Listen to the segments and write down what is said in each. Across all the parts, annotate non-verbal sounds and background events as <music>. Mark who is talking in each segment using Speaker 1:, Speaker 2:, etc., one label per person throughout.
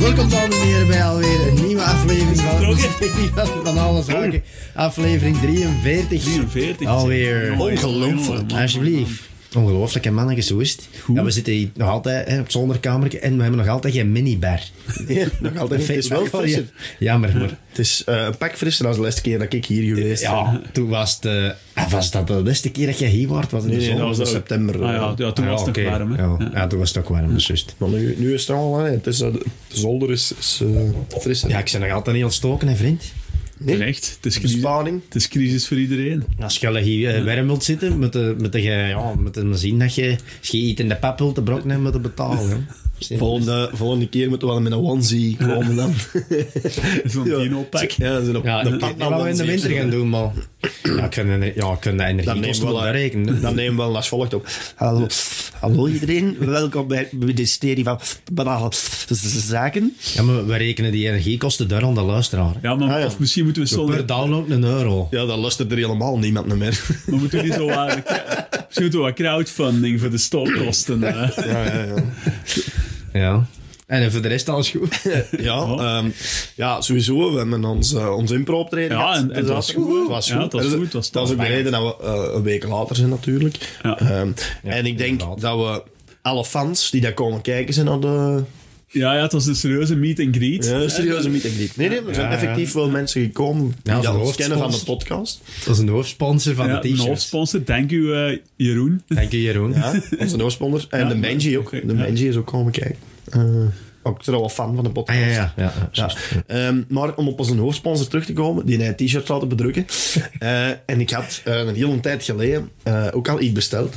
Speaker 1: Welkom dames en heren bij alweer een nieuwe aflevering <laughs> van, van Alles Haken.
Speaker 2: Oh.
Speaker 1: Aflevering 43.
Speaker 2: 43.
Speaker 1: Alweer.
Speaker 2: Ongelooflijk.
Speaker 1: Alsjeblieft. Ongelooflijk, en mannetjes, hoe is het? Ja, we zitten hier nog altijd hè, op het zolderkamertje en we hebben nog altijd geen minibar.
Speaker 3: <laughs>
Speaker 1: nog altijd <laughs>
Speaker 3: Het is wel
Speaker 1: feestdag voor je.
Speaker 3: frisser.
Speaker 1: Jammer, maar...
Speaker 3: Het is eh, een pak frisser dan de laatste keer dat ik hier geweest ben.
Speaker 1: Ja, toen was het... eh, ah, was dat de laatste keer dat jij hier was? Was het in
Speaker 3: Nee,
Speaker 1: de
Speaker 3: nee,
Speaker 1: zomer?
Speaker 3: dat was in
Speaker 2: ook-
Speaker 3: september.
Speaker 2: Ah, ja,
Speaker 3: eh.
Speaker 2: ja, toen
Speaker 1: Ah,
Speaker 2: was het
Speaker 1: oké.
Speaker 2: nog warm. Hè?
Speaker 1: Ja, ja, toen was het ook warm, dus juist.
Speaker 3: Maar nu, nu is het al, hè. Het is, eh, de zolder is, is eh, frisser.
Speaker 1: Ja, ik ben nog altijd niet ontstoken, hè, vriend.
Speaker 3: Nee?
Speaker 2: Terecht. Het is, crisis,
Speaker 3: Besparing.
Speaker 2: het is crisis voor
Speaker 3: <laughs>
Speaker 2: iedereen.
Speaker 1: Als je hier eh, warm wilt zitten, moet je, moet je, ja, moet je zien dat je... Als je iets in de pap wilt, de brok nemen, moet je betalen. hè. Simpel.
Speaker 3: Volgende, volgende keer moeten we wel met een onesie komen <laughs> dan.
Speaker 2: Zo'n
Speaker 3: Ja.
Speaker 2: dino-pak.
Speaker 3: Ja, zo'n
Speaker 1: Ja,
Speaker 3: een
Speaker 1: ik weet niet wat we in de
Speaker 3: onesie.
Speaker 1: winter gaan doen, man. Ja, ik vind de, ja, ik vind de
Speaker 3: Dan nemen,
Speaker 1: energiekosten
Speaker 3: we
Speaker 1: wel
Speaker 3: wel,
Speaker 1: berekenen. hè.
Speaker 3: dan nemen we wel als volgt op. Hallo, hallo iedereen, welkom bij het ministerie van Banale Zaken.
Speaker 1: Ja, maar we rekenen die energiekosten daar aan de luisteraar.
Speaker 2: Ja, maar
Speaker 3: Ah, ja.
Speaker 2: Of misschien moeten we
Speaker 1: Per
Speaker 2: zonder...
Speaker 1: download een euro.
Speaker 3: Ja, dan luistert er helemaal niemand naar meer.
Speaker 2: We moeten niet zo
Speaker 3: <laughs>
Speaker 2: wat... Misschien moeten we wat crowdfunding voor de stopkosten.
Speaker 3: <laughs>
Speaker 2: eh. hè.
Speaker 3: Ja, ja, ja.
Speaker 1: Ja. En voor de rest alles goed.
Speaker 3: Ja, ehm, ja, sowieso. We hebben ons, eh, ons impro-optreden
Speaker 2: Ja,
Speaker 3: gehad.
Speaker 2: en- en
Speaker 3: Dus
Speaker 2: het
Speaker 3: dat
Speaker 2: was
Speaker 3: was
Speaker 2: goed, hè?
Speaker 3: Het was
Speaker 2: Ja, het was
Speaker 3: Dat is-
Speaker 2: goed, het was
Speaker 3: dat is ook de
Speaker 2: spannend.
Speaker 3: reden dat we eh, een week later zijn, natuurlijk.
Speaker 2: Ja.
Speaker 3: Ehm,
Speaker 1: Ja,
Speaker 3: en ik denk
Speaker 1: inderdaad.
Speaker 3: dat we alle fans die daar komen kijken zijn naar de
Speaker 2: Ja, ja, het was een serieuze meet and greet.
Speaker 3: ja, serieuze meet and greet. Nee, nee, er zijn
Speaker 1: Ja, ja.
Speaker 3: effectief wel mensen gekomen die
Speaker 1: Ja,
Speaker 3: dat
Speaker 1: als
Speaker 3: ons
Speaker 1: hoofdsponsor.
Speaker 3: kennen van de podcast.
Speaker 1: <laughs> Dat is een hoofdsponsor van
Speaker 2: Ja,
Speaker 1: de
Speaker 2: een
Speaker 1: t-shirt.
Speaker 2: hoofdsponsor. Dank u, eh, Jeroen.
Speaker 1: Dank je, Jeroen.
Speaker 3: Ja, onze hoofdsponsor. En
Speaker 2: Ja,
Speaker 3: de Benji ook.
Speaker 2: oké,
Speaker 3: De
Speaker 2: ja.
Speaker 3: Benji is ook komen kijken. Eh, ook trouwens wel fan van de
Speaker 1: Ah,
Speaker 3: podcast.
Speaker 1: ja, ja. ja, ja,
Speaker 3: Ja.
Speaker 1: juist.
Speaker 3: Ehm, maar om op onze hoofdsponsor terug te komen, die een t-shirt laten bedrukken. Eh, en ik had eh, een hele tijd geleden eh, ook al iets besteld.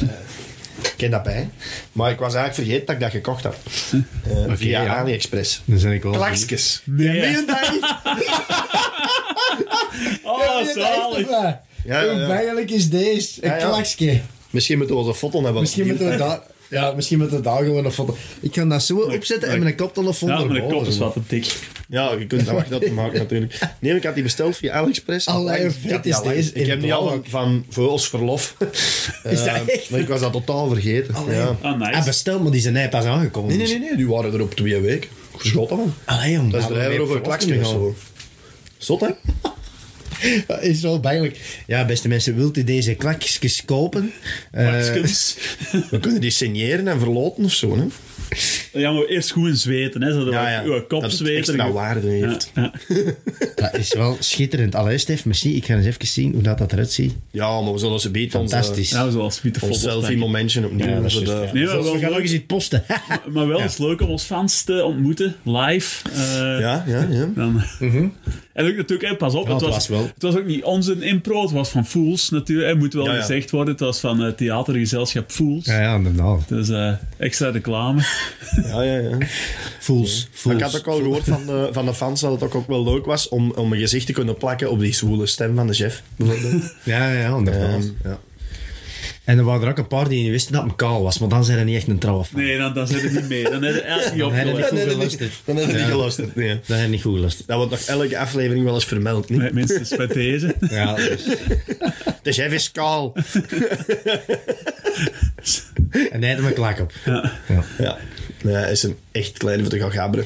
Speaker 3: Eh, ik ken dat bij. Maar ik was eigenlijk vergeten dat ik dat gekocht had. Eh, via
Speaker 1: ja.
Speaker 3: AliExpress.
Speaker 1: Dan ben ik wel...
Speaker 3: Klaksjes.
Speaker 2: Nee.
Speaker 3: Meen je dat niet?
Speaker 2: Oh, zalig.
Speaker 3: Ja, ja, ja.
Speaker 1: bijgelijk is deze? Een
Speaker 3: Ja, ja.
Speaker 1: klakske.
Speaker 3: Misschien moeten we onze foto hebben.
Speaker 1: we daar... Ja, misschien moeten we daar gewoon een foto... Ik kan dat zo opzetten en mijn koptelefoon
Speaker 2: Ja, mijn
Speaker 1: erboven
Speaker 2: kop is
Speaker 1: doen.
Speaker 2: wat te dik.
Speaker 3: Ja, je kunt dat wachten dat te maken natuurlijk. Nee, ik had die besteld via AliExpress.
Speaker 1: Allee,
Speaker 3: Ik
Speaker 1: vet
Speaker 3: had die
Speaker 1: is
Speaker 3: al lang-
Speaker 1: deze
Speaker 3: Ik heb die al
Speaker 1: blauw.
Speaker 3: van voor ons verlof.
Speaker 1: Is dat
Speaker 3: Eh,
Speaker 1: echt?
Speaker 3: Maar ik was dat totaal vergeten. Ja.
Speaker 2: Ah, nice.
Speaker 1: Ah, bestel, maar die zijn net pas aangekomen. dus-
Speaker 3: Nee, nee, nee, nee, die waren er op twee weken. Geschoten man.
Speaker 1: Allee, jongen.
Speaker 3: Dat is de over een klaksje of zo. Zot, hè?
Speaker 1: Dat <laughs> is wel pijnlijk. Ja, beste mensen, wilt u deze klakjes kopen? Eh,
Speaker 2: Klakskens.
Speaker 3: We kunnen die signeren en verloten of zo, hè?
Speaker 2: Ja, maar eerst goed in zweten, hè, zodat uw kop
Speaker 3: Dat het
Speaker 2: zweet.
Speaker 3: extra waarde heeft.
Speaker 2: Ja,
Speaker 1: dat is wel schitterend. Allee, Stef, merci. Ik ga eens even zien hoe dat, dat eruit ziet.
Speaker 3: Ja, maar we zullen ze beter onze-
Speaker 1: Fantastisch.
Speaker 2: ja, zoals Pieter
Speaker 3: Ons
Speaker 2: Vos
Speaker 3: selfie momentje opnieuw.
Speaker 1: Ja, dat is
Speaker 3: Zo
Speaker 1: juist,
Speaker 3: de-
Speaker 1: ja.
Speaker 2: Nee, maar
Speaker 1: Zelfs,
Speaker 2: wel
Speaker 1: we gaan
Speaker 2: leuk.
Speaker 1: ook eens iets posten. <laughs>
Speaker 2: Maar wel, het is leuk om ons fans te ontmoeten, live. eh,
Speaker 3: ja, ja, ja.
Speaker 2: Dan. eh, En ook natuurlijk, hè, pas op,
Speaker 1: Mhm. Ja,
Speaker 2: het,
Speaker 1: het
Speaker 2: was,
Speaker 1: was wel.
Speaker 2: het was ook niet onze impro, het was van Fools natuurlijk, hè, moet wel
Speaker 3: Ja, ja.
Speaker 2: gezegd worden. Het was van het theatergezelschap Fools.
Speaker 1: Ja, ja, inderdaad.
Speaker 2: Dus eh, extra reclame.
Speaker 3: ja, ja, ja.
Speaker 1: Fools,
Speaker 3: Ik
Speaker 1: fools.
Speaker 3: had ook al gehoord van de, van de fans dat het ook, ook wel leuk was om, om een gezicht te kunnen plakken op die zwoele stem van de chef. Bijvoorbeeld.
Speaker 1: Ja, ja, inderdaad.
Speaker 3: Ehm,
Speaker 1: ja. En er waren er ook een paar die niet wisten dat het kaal was, maar dan zijn er niet echt een trouw af.
Speaker 2: Nee, dan, dan zit het niet mee. Dan heb je echt niet
Speaker 1: Dan heb je
Speaker 2: opgelet.
Speaker 1: niet goed
Speaker 3: nee,
Speaker 1: geluisterd.
Speaker 3: nee. <laughs> Dan hebben we
Speaker 1: Ja.
Speaker 3: niet geluisterd. Nee.
Speaker 1: Dat heb je niet goed geluisterd.
Speaker 3: Dat wordt nog elke aflevering wel eens vermeld. Niet?
Speaker 2: Nee, Minstens met deze.
Speaker 1: Ja,
Speaker 2: dus-
Speaker 3: De chef is kaal.
Speaker 1: <laughs> en hij had mijn klak op. Ja.
Speaker 3: Ja, nee, hij is een echt kleine voor de gagabre.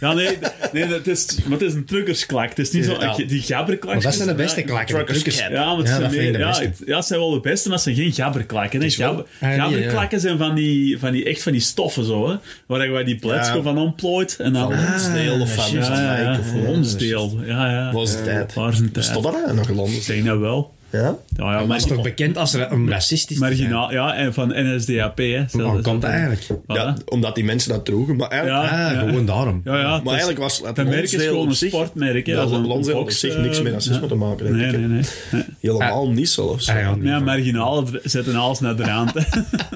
Speaker 2: Ja, nee, nee dat is, maar het is een truckersklak. Het is niet zo,
Speaker 3: Ja.
Speaker 2: die gabberklak.
Speaker 1: Maar dat zijn de beste klakken. de
Speaker 3: Truckers
Speaker 1: truckers.
Speaker 3: cap.
Speaker 2: Ja, maar het
Speaker 1: Ja,
Speaker 2: zijn
Speaker 1: dat vind
Speaker 2: meer,
Speaker 1: ik de
Speaker 2: ja,
Speaker 1: beste.
Speaker 2: het, ja, het zijn wel de beste, maar het zijn geen gabberklakken. Hè. Gabber,
Speaker 1: Ah, nee,
Speaker 2: gabberklakken zijn van die, van die, echt van die stoffen zo, hè, waar je die pletsko
Speaker 3: Ja.
Speaker 2: van ontplooit. En dan, Ah,
Speaker 3: Lonsdale of van
Speaker 2: ja, ja,
Speaker 3: Wijk
Speaker 2: ja,
Speaker 3: of-
Speaker 2: Lonsdale. Ja, ja.
Speaker 3: Was de tijd.
Speaker 2: Waar is een tijd?
Speaker 3: Stond dat daar nog in Londen?
Speaker 2: Ik denk dat wel.
Speaker 3: Ja?
Speaker 2: Ja, ja,
Speaker 1: Maar is
Speaker 2: margi-
Speaker 1: toch bekend als ra- een racistisch te zijn?
Speaker 2: marginaal. Ja, en van NSDAP. Hè, zelfs.
Speaker 1: Hoe komt dat eigenlijk?
Speaker 2: Voilà.
Speaker 3: ja, omdat die mensen dat droegen. Maar eigenlijk,
Speaker 2: Ja.
Speaker 1: Ah, gewoon daarom.
Speaker 2: Ja, ja, het is-
Speaker 3: maar eigenlijk was het
Speaker 2: dat merk is
Speaker 3: Lonsdale
Speaker 2: gewoon
Speaker 3: op
Speaker 2: een
Speaker 3: zich-
Speaker 2: sportmerk. hè,
Speaker 3: ja,
Speaker 2: als een
Speaker 3: Lonsdale op
Speaker 2: box,
Speaker 3: zich
Speaker 2: eh,
Speaker 3: niks met racisme
Speaker 2: ja.
Speaker 3: te maken heeft.
Speaker 2: Nee, nee, nee. nee.
Speaker 3: Helemaal niet zelfs.
Speaker 1: Ah,
Speaker 3: Ja,
Speaker 1: ja,
Speaker 2: Ja, marginaal zetten alles naar de rand.
Speaker 3: <laughs>
Speaker 2: hè.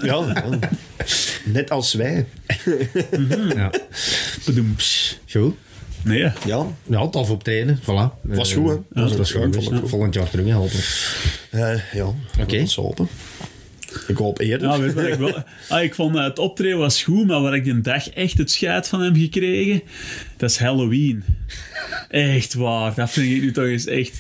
Speaker 3: ja. Net als wij.
Speaker 1: Ja.
Speaker 2: Bedoemps.
Speaker 1: Goed.
Speaker 2: Nee,
Speaker 3: Ja.
Speaker 1: Ja, tof optreden. Voilà.
Speaker 3: Was
Speaker 1: Eh,
Speaker 3: goed, hè?
Speaker 1: ja,
Speaker 3: Was
Speaker 1: het was
Speaker 3: goed,
Speaker 1: goed.
Speaker 3: vond ik
Speaker 1: geweest. Volgend jaar terug, hè, hopelijk.
Speaker 3: Eh, ja.
Speaker 1: Oké.
Speaker 3: Dat is open. Ik hoop eerder.
Speaker 2: Ja, weet wat ik wil. Ah, ik vond eh, het optreden was goed, maar waar ik een dag echt het scheid van hem gekregen, dat is Halloween. Echt waar, dat vind ik nu toch eens echt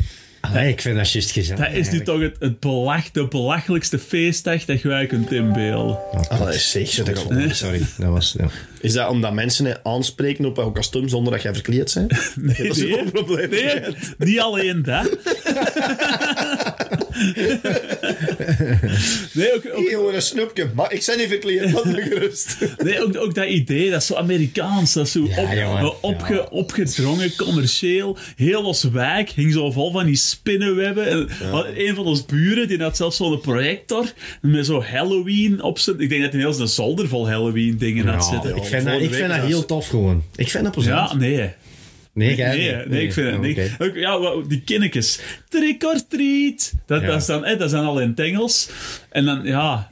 Speaker 1: Nee, Ah, ik vind dat juist gezegd.
Speaker 2: Dat is nu toch het, het belach, de belachelijkste feestdag dat je je kunt inbeelden.
Speaker 3: Allee, zeg,
Speaker 1: Zet ik
Speaker 3: kom.
Speaker 1: op. Sorry, dat was... Ja.
Speaker 3: Is dat omdat mensen hè, aanspreken op jouw kostuum zonder dat jij verkleed bent?
Speaker 2: Nee,
Speaker 3: dat is
Speaker 2: nee.
Speaker 3: een probleem.
Speaker 2: Nee, niet alleen
Speaker 3: <laughs>
Speaker 2: dat. nee, ook, ook,
Speaker 3: <laughs> Hier, Jongen, een snoepje. Maar ik ben niet verkleed, wat me gerust.
Speaker 2: nee ook, ook dat idee, dat is zo Amerikaans. Dat is zo op, eh,
Speaker 1: jongen,
Speaker 2: opge-
Speaker 1: ja.
Speaker 2: opgedrongen, commercieel. Heel ons wijk hing zo vol van die spinnenwebben. En, had Een van ons buren die had zelfs zo'n projector met zo Halloween op zijn... Ik denk dat hij heel zijn zolder vol Halloween-dingen had
Speaker 1: Ja,
Speaker 2: zitten.
Speaker 1: ik vind, dat,
Speaker 3: volgende
Speaker 1: ik vind
Speaker 3: week
Speaker 1: dat
Speaker 3: is
Speaker 1: heel
Speaker 3: dat-
Speaker 1: tof gewoon. Ik vind dat plezant.
Speaker 2: Ja, nee.
Speaker 1: nee, jij
Speaker 2: Nee,
Speaker 1: niet.
Speaker 2: nee, ik vind het
Speaker 1: oh,
Speaker 2: niet.
Speaker 1: oké.
Speaker 2: Ook, ja, wel, die kinnetjes. Trick or treat. Dat,
Speaker 1: Ja.
Speaker 2: dat, is dan, hè, dat zijn al in het Engels. En dan, ja...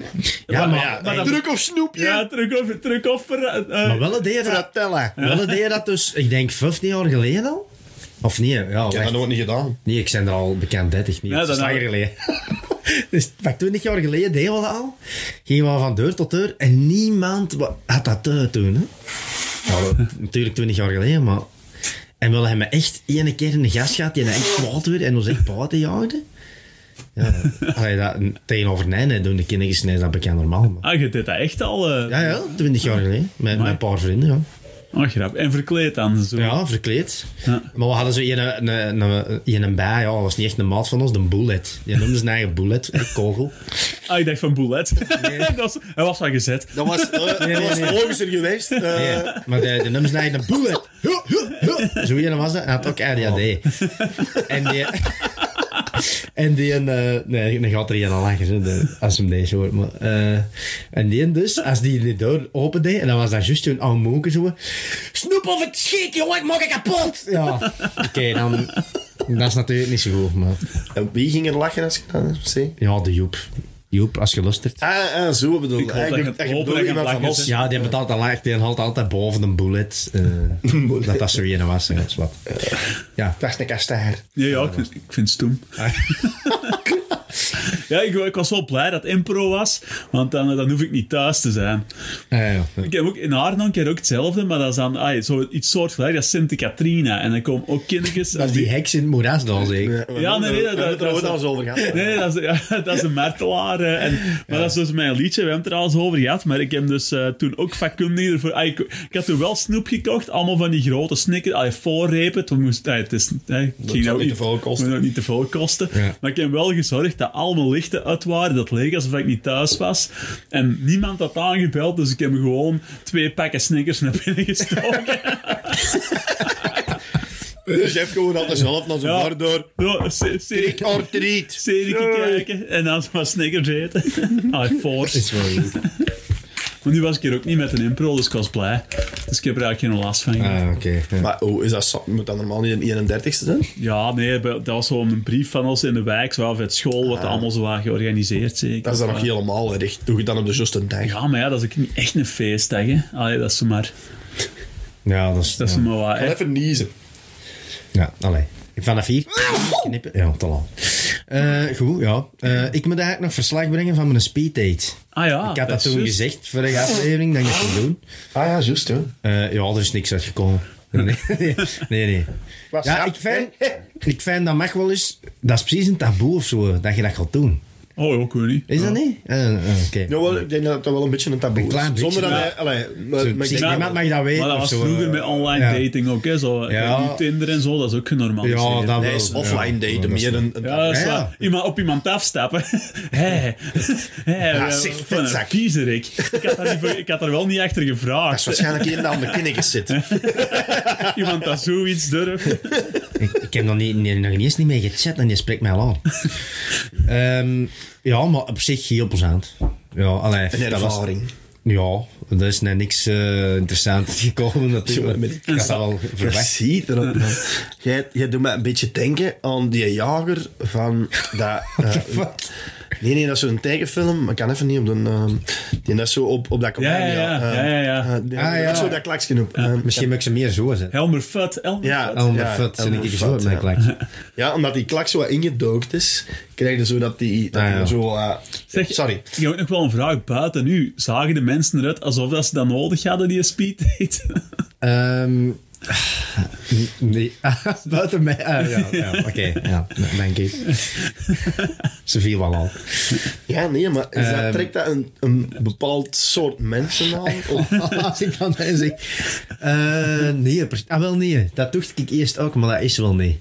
Speaker 1: Ja, maar,
Speaker 2: maar- maar
Speaker 1: ik-
Speaker 2: dat-
Speaker 3: Druk op snoepje.
Speaker 2: Ja, truc of... Truc of ver- eh,
Speaker 1: maar wel deed dat...
Speaker 3: Fratella. Ik
Speaker 1: Wel deed dat dus, ik denk, 15 jaar geleden al? Of nee, ja,
Speaker 3: heb
Speaker 1: wacht.
Speaker 3: dat nooit niet gedaan.
Speaker 1: Nee, ik ben er al bekend, 30 niet.
Speaker 2: Ja,
Speaker 1: dat is
Speaker 2: dan-
Speaker 1: langer geleden. <laughs> dus pak 20 jaar geleden deden we dat al. Gingen we van deur tot deur en niemand wa- had dat eh, toen. Hè? Ja,
Speaker 2: <laughs>
Speaker 1: wel, natuurlijk 20 jaar geleden, maar. En we hebben echt één keer in de gast gehad die echt kwaad werd en ons echt buiten jaagde. Ja, allee, dat, tegenover Nijnen doen de kinderen is dat bekend normaal. Maar.
Speaker 2: ah, je deed dat echt al. eh
Speaker 1: Ja, ja, 20 jaar geleden. Met, met een paar vrienden. Ja.
Speaker 2: Oh, grap. En verkleed dan zo.
Speaker 1: Ja, verkleed.
Speaker 2: Ja.
Speaker 1: Maar we hadden zo een, een, een, een, een bij, ja, dat was niet echt een maat van ons, de bullet. Die noemde zijn eigen bullet, een kogel.
Speaker 2: Ah, ik dacht van Boulet. <laughs> dat was, hij was al gezet.
Speaker 3: Dat was, eh,
Speaker 1: nee,
Speaker 3: dat was
Speaker 1: nee.
Speaker 3: logischer geweest. eh.
Speaker 1: Nee, maar die, die noemde zijn eigen een bullet. Huh, huh, huh. Zo een was dat. Hij had ook ADHD. En die... En die, een, eh, nee, dan gaat er een aan lachen zo, de- als hem deze hoort. Maar, eh, en die dus, als die de deur opende, en dan was dat juist toen oude monke zo. Snoep of het schiet, jongen, ik maak het kapot! Ja, oké, dan. Dat is natuurlijk niet zo goed, maar.
Speaker 3: En wie ging er lachen als ik dat zei?
Speaker 1: Ja, de Joep. Joep, als je lustert.
Speaker 3: Ah, ah, zo bedoel
Speaker 2: Ik hoop dat je het
Speaker 3: bedoel
Speaker 2: open en
Speaker 3: iemand
Speaker 2: gaat lachen,
Speaker 3: van ons.
Speaker 2: hè.
Speaker 1: Ja, die betaalt altijd, die haalt altijd boven de bullet. <laughs> eh, dat dat zo een was, hè, dat is wat. Ja.
Speaker 3: Dat is een kastaar.
Speaker 2: Ja, ja, ik vind, ik vind het stoem. <laughs> ja, ik, ik was wel blij dat het impro was, want dan, dan hoef ik niet thuis te zijn.
Speaker 1: Ja, eh, ja.
Speaker 2: Ik heb ook in Arnhem ik heb ook hetzelfde, maar dat is dan ah, zo, iets soortgelijks als Sint Katrina. En dan komen ook kindertjes...
Speaker 1: Dat is die heks in het moeras dan, zeker.
Speaker 2: Ja, nee, nee, dat-
Speaker 3: dat
Speaker 2: dat-
Speaker 3: is al eens over gehad.
Speaker 2: Nee, dat is, ja, <laughs> dat is een martelaar. eh, En, maar dat is dus mijn liedje. We hebben het er al eens over gehad. Maar ik heb dus eh, toen ook vakkundig ervoor... ah, ik, ik had toen wel snoep gekocht. Allemaal van die grote snickers. Allee, voorrepen. Toen moest, ah, het is, eh, ik ging
Speaker 3: zal
Speaker 2: nou
Speaker 3: niet te veel kosten.
Speaker 2: moet ook niet te veel kosten.
Speaker 1: Ja.
Speaker 2: Maar ik heb wel gezorgd dat al mijn lichten uit waren. Dat het leek alsof ik niet thuis was. En niemand had aangebeld. Dus ik heb gewoon twee pakken snickers naar binnen gestoken.
Speaker 3: <laughs> Dus je hebt gewoon altijd zelf naar zo'n
Speaker 2: Ja.
Speaker 3: bar door.
Speaker 2: Zo, se- serie-
Speaker 3: Ik hoor
Speaker 2: <laughs>
Speaker 3: er niet.
Speaker 2: Serie kijken en dan <laughs> maar snickers eten.
Speaker 1: <laughs>
Speaker 2: Ah, force.
Speaker 1: is wel goed.
Speaker 2: Maar nu was ik hier ook niet met een impro, dus ik was blij. Dus ik heb er eigenlijk geen last van. gehad.
Speaker 1: Ah, oké. ja.
Speaker 3: Maar oh, is dat, zo- moet dat normaal niet een 31ste zijn?
Speaker 2: Ja, nee, be- dat was zo'n brief van ons in de wijk, zo of het school,
Speaker 1: Ah.
Speaker 2: wat allemaal zo was georganiseerd zeker.
Speaker 3: Dat is dan nog helemaal erg. Doe je dan op de juiste dag.
Speaker 2: Ja, maar ja, dat is ook niet echt een feestdag, hè. Allee, dat is maar...
Speaker 1: Ja, dat is...
Speaker 2: Dat is
Speaker 1: ja.
Speaker 2: maar wat,
Speaker 3: Ga
Speaker 2: hè.
Speaker 3: even niezen.
Speaker 1: Ja, allee. Vanaf hier. Knippen. Ja, te lang. Eh, goed, ja. Eh, ik moet eigenlijk nog verslag brengen van mijn speeddate.
Speaker 2: Ah ja,
Speaker 1: ik had dat
Speaker 2: is
Speaker 1: toen
Speaker 2: juist.
Speaker 1: gezegd, vorige aflevering, dat ik dat ging doen.
Speaker 3: Ah ja, juist hoor.
Speaker 1: Eh, ja, er is niks
Speaker 3: <laughs>
Speaker 1: uitgekomen. Nee, nee, nee. nee.
Speaker 3: Was
Speaker 1: Ja,
Speaker 3: grap,
Speaker 1: ik vind, <laughs> ik vind dat mag wel eens... Dat is precies een taboe of zo, dat je dat gaat doen.
Speaker 2: Oh, ja, ik weet niet.
Speaker 1: Is dat niet? Eh, eh, Oké.
Speaker 3: Jawel, ik denk dat dat wel een beetje een taboe
Speaker 1: Een klein
Speaker 3: is. Zonder dat
Speaker 1: beetje,
Speaker 3: hij... Allee, maar-
Speaker 1: Zo,
Speaker 3: maar ik
Speaker 1: precies,
Speaker 3: denk-
Speaker 1: niemand mag dat weten.
Speaker 2: Maar dat
Speaker 1: of
Speaker 2: was
Speaker 1: zo,
Speaker 2: vroeger
Speaker 1: eh,
Speaker 2: met online
Speaker 1: ja.
Speaker 2: dating ook, hè. Zo,
Speaker 1: Ja.
Speaker 2: Nu Tinder en zo, dat is ook genormaliseerd.
Speaker 1: Ja, dat
Speaker 3: Nee, is
Speaker 1: wel.
Speaker 3: offline
Speaker 1: Ja,
Speaker 3: daten
Speaker 1: dat is
Speaker 3: meer een... een
Speaker 2: Ja, dat is
Speaker 1: Ja, ja.
Speaker 2: waar. Iemand op iemand afstappen. <laughs> Hé, hé,
Speaker 3: Ja,
Speaker 2: eh,
Speaker 3: zeg,
Speaker 2: wat een
Speaker 3: vetzak.
Speaker 2: viezerik. Ik had, daar niet voor- ik had daar wel niet achter
Speaker 3: Dat is
Speaker 2: gevraagd.
Speaker 3: waarschijnlijk één dat aan de kinnikjes zit.
Speaker 2: <laughs> Iemand dat zoiets durft.
Speaker 1: Ik, ik heb nog, niet, nee, nog niet eens niet mee gechat en je spreekt mij al aan.
Speaker 3: <laughs>
Speaker 1: Ehm, ja, maar op zich heel plezant. Ja, allee,
Speaker 3: Een
Speaker 1: dat was-
Speaker 3: ervaring.
Speaker 1: ja, er is net niks eh, interessants <laughs> gekomen natuurlijk.
Speaker 3: Jongen, met die
Speaker 1: ik had dat al
Speaker 3: Je
Speaker 1: verwacht.
Speaker 3: ziet erop. man.
Speaker 2: <laughs>
Speaker 3: Jij, jij doet me een beetje denken aan die jager van...
Speaker 2: <laughs>
Speaker 3: Dat, eh, nee, nee, dat is zo'n tegenfilm. Maar ik kan even niet op de... eh, die dat zo op, op dat
Speaker 2: Ja, ja,
Speaker 3: eh,
Speaker 2: ja, ja, ja, ja.
Speaker 3: eh, die-
Speaker 1: Ah, ja.
Speaker 3: Zo dat klaksje op. Eh,
Speaker 1: Misschien moet ik ze meer zo zetten.
Speaker 2: Helmer Fut, Helmer
Speaker 3: Ja.
Speaker 2: Fut.
Speaker 1: Oh, mijn
Speaker 3: Ja,
Speaker 1: fut, zijn
Speaker 3: helemaal
Speaker 1: ik
Speaker 3: fut,
Speaker 1: zo
Speaker 3: ja.
Speaker 1: mijn klak.
Speaker 3: Ja, omdat die klak zo wat ingedookt is, krijg je zo dat die... Dat
Speaker 1: Ah, ja.
Speaker 3: die zo, eh,
Speaker 2: Zeg,
Speaker 3: sorry.
Speaker 2: Ik heb ook nog wel een vraag buiten u. Zagen de mensen eruit alsof dat ze dat nodig hadden, die speed date?
Speaker 1: Ehm, <laughs> Nee, <laughs> buiten mij. Ah, ja, ja, <laughs> oké. Ja, dank je. Ze viel wel al.
Speaker 3: Ja, nee, maar is dat,
Speaker 1: Ehm.
Speaker 3: trekt dat een, een bepaald soort mensen
Speaker 2: <laughs>
Speaker 3: aan? Of,
Speaker 1: <laughs> Als ik dan mij zeg... eh, nee, pers- ah, wel nee. Dat dacht ik eerst ook, maar dat is wel niet.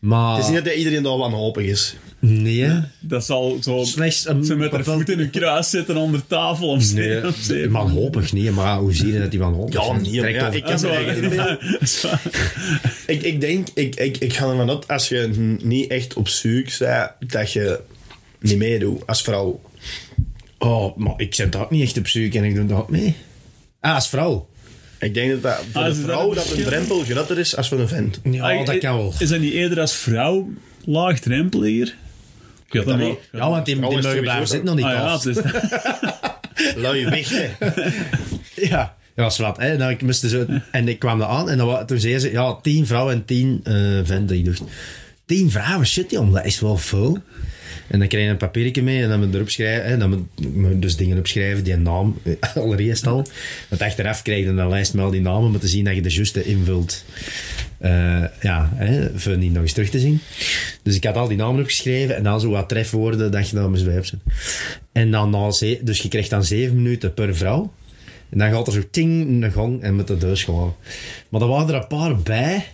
Speaker 1: Maar...
Speaker 3: het is niet dat iedereen daar wanhopig is.
Speaker 1: Nee.
Speaker 2: <laughs> Dat zal zo...
Speaker 1: Slechts een...
Speaker 2: Ze met haar
Speaker 1: bepaald-
Speaker 2: voet in hun kruis zitten onder tafel om
Speaker 1: Nee,
Speaker 2: <laughs> zeven op zeven.
Speaker 1: wanhopig niet. Maar hoe zie je dat die wanhopig
Speaker 3: Ja,
Speaker 1: zijn?
Speaker 3: nee, maar
Speaker 1: Trekt
Speaker 3: ja,
Speaker 1: over-
Speaker 3: ik
Speaker 2: Ah,
Speaker 3: heb
Speaker 2: zo.
Speaker 3: er eigenlijk
Speaker 2: <laughs>
Speaker 3: Ik, ik denk, ik, ik, ik ga ervan uit, als je niet echt op zoek bent, dat je niet meedoet als vrouw.
Speaker 1: Oh, maar ik zit daar ook niet echt op zoek en ik doe dat ook mee. Ah, als vrouw.
Speaker 3: Ik denk dat, dat voor
Speaker 2: Ah,
Speaker 3: een
Speaker 2: is dat
Speaker 3: vrouw
Speaker 2: een
Speaker 3: dat een
Speaker 2: verschil?
Speaker 3: drempel groter is als voor een vent.
Speaker 1: Ja,
Speaker 2: Ah,
Speaker 1: dat kan wel.
Speaker 2: Is dat niet eerder als vrouw laagdrempeliger? Ik weet dat
Speaker 3: dat
Speaker 2: niet.
Speaker 1: Ja, want die, die mogen
Speaker 3: Vrouwen sowieso
Speaker 1: blijven
Speaker 3: zo.
Speaker 1: zitten nog niet
Speaker 2: Ah, ja,
Speaker 1: af.
Speaker 2: het is,
Speaker 3: Lui weg,
Speaker 2: <laughs>
Speaker 3: hè.
Speaker 1: Ja, dat was wat. Hè. Dan, ik moest zo, en ik kwam daar aan en dan, wa- toen zei ze, ja, tien vrouwen en tien eh venten. Ik dacht, tien vrouwen, shit jong, dat is wel veel. En dan kreeg je een papiertje mee en dan moet je erop schrijven. Hè, dan moet moet je dus dingen opschrijven, die naam, <laughs> eh, allereerst al. Want achteraf krijg je een lijst met al die namen, om te zien dat je de juiste invult. Eh, ja, hè, voor niet nog eens terug te zien. Dus ik had al die namen opgeschreven en dan zo wat trefwoorden dat je dan moest bijopzetten. En dan, na ze- dus je kreeg dan zeven minuten per vrouw. En dan gaat er zo ting een gang en met de deur schoon. Maar er waren er een paar bij.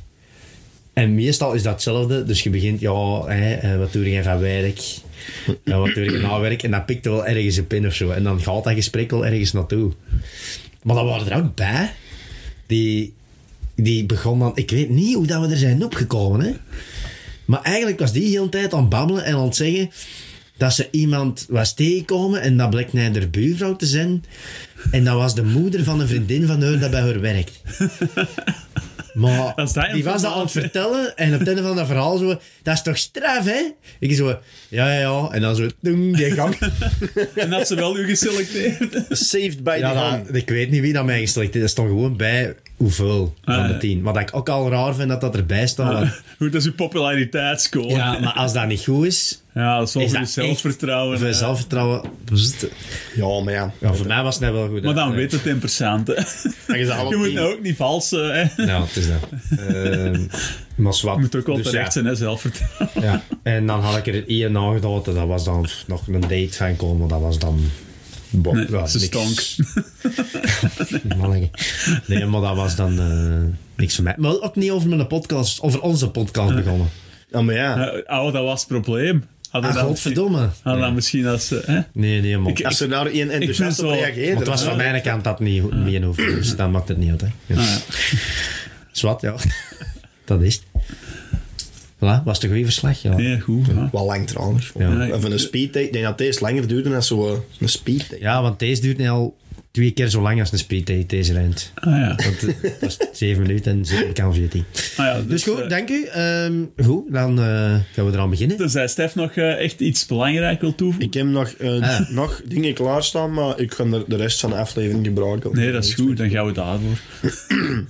Speaker 1: En meestal is dat hetzelfde. Dus je begint, ja, hè, eh, wat doe jij van werk? Ja, wat doe je na werk? En dan pikt er wel ergens een pin of zo. En dan gaat dat gesprek wel ergens naartoe. Maar dan waren er ook bij. Die, die begon dan... Ik weet niet hoe dat we er zijn opgekomen, hè. Maar eigenlijk was die heel de tijd aan het babbelen en aan het zeggen dat ze iemand was tegengekomen en dat bleek naar de buurvrouw te zijn. En dat was de moeder van een vriendin van haar dat bij haar werkt. Maar
Speaker 2: Als dat een
Speaker 1: die was dat
Speaker 2: verhaal
Speaker 1: aan het
Speaker 2: is, hè?
Speaker 1: vertellen en op het einde van dat verhaal zo... Dat is toch straf, hè? Ik zo... Ja, ja, ja. En dan zo... Doeng, die gang.
Speaker 2: en dat ze wel u geselecteerd.
Speaker 1: <laughs>
Speaker 3: Saved by the
Speaker 1: Ja,
Speaker 3: hand.
Speaker 1: dat, ik weet niet wie dat mij geslekt is. Dat stond gewoon bij hoeveel van
Speaker 2: Ah,
Speaker 1: de
Speaker 2: ja. Ah.
Speaker 1: tien. Wat ik ook al raar vind dat dat erbij staat.
Speaker 2: <laughs>
Speaker 1: want-
Speaker 2: Goed, dat is uw populariteitsscore.
Speaker 1: Ja, maar als dat niet goed is...
Speaker 2: Ja, dat is wel
Speaker 1: Is
Speaker 2: voor
Speaker 1: dat
Speaker 2: je zelfvertrouwen. eh.
Speaker 1: echt Voor
Speaker 2: hè.
Speaker 1: zelfvertrouwen...
Speaker 3: Ja, maar ja.
Speaker 1: Ja, voor mij was het net wel goed.
Speaker 2: Maar
Speaker 1: hè.
Speaker 2: dan weet het in percent. hè.
Speaker 3: Dan is dat allemaal
Speaker 2: Je moet
Speaker 3: tien.
Speaker 2: nou ook niet vals eh, hè. Je
Speaker 1: Ja, het is dat. Ehm, maar zwart.
Speaker 2: moet ook wel terecht zijn, hè,
Speaker 1: <laughs>
Speaker 2: zelfvertrouwen.
Speaker 1: Ja, ja. En dan had ik er één aangedoten. Dat was dan nog een date van komen. Dat was dan... Bo,
Speaker 2: Nee,
Speaker 1: ja,
Speaker 2: ze
Speaker 1: niks. <laughs>
Speaker 2: stonk.
Speaker 1: Mannetje. Nee, maar dat was dan eh, niks voor mij. Maar ook niet over mijn podcast, over onze podcast begonnen.
Speaker 3: Ja, maar ja.
Speaker 2: Eh, Oh, dat was het probleem. Hadden
Speaker 1: Ah,
Speaker 2: dat
Speaker 1: godverdomme.
Speaker 2: misschien- Hadden dat misschien als... eh, hè?
Speaker 1: Nee, nee, man.
Speaker 3: Als er nou één enthousiast
Speaker 2: vind
Speaker 3: op
Speaker 2: zo-
Speaker 3: reageert...
Speaker 1: Want het was
Speaker 3: dan-
Speaker 1: van mijn kant dat niet goed meer hoeft, dus dat maakt het niet uit. Hè. Ja. <laughs> Zwat, ja. <laughs> Dat is het. Voilà, was het een goede verslag? Ja.
Speaker 2: Nee, goed. Ah, ja.
Speaker 3: Wel lang trouwens.
Speaker 1: Ja.
Speaker 3: En van een speedtake. Ik denk dat deze langer duurde dan zo'n een speedtake.
Speaker 1: ja, want deze duurt nu al twee keer zo lang als een speed deze eind.
Speaker 2: Ah ja.
Speaker 1: Want eh, dat is <laughs> 7 minuten en 7 kan 14.
Speaker 2: Ah, ja
Speaker 1: Dus
Speaker 2: eh,
Speaker 1: goed, dank u. Ehm, goed, dan eh, gaan we eraan beginnen.
Speaker 2: Tenzij Stef nog eh, echt iets belangrijk wil toevoegen.
Speaker 3: Ik heb nog, eh,
Speaker 2: Ah.
Speaker 3: nog dingen klaarstaan, maar ik ga er de rest van de aflevering gebruiken.
Speaker 2: Nee, dat is goed. Dan gaan we daarvoor.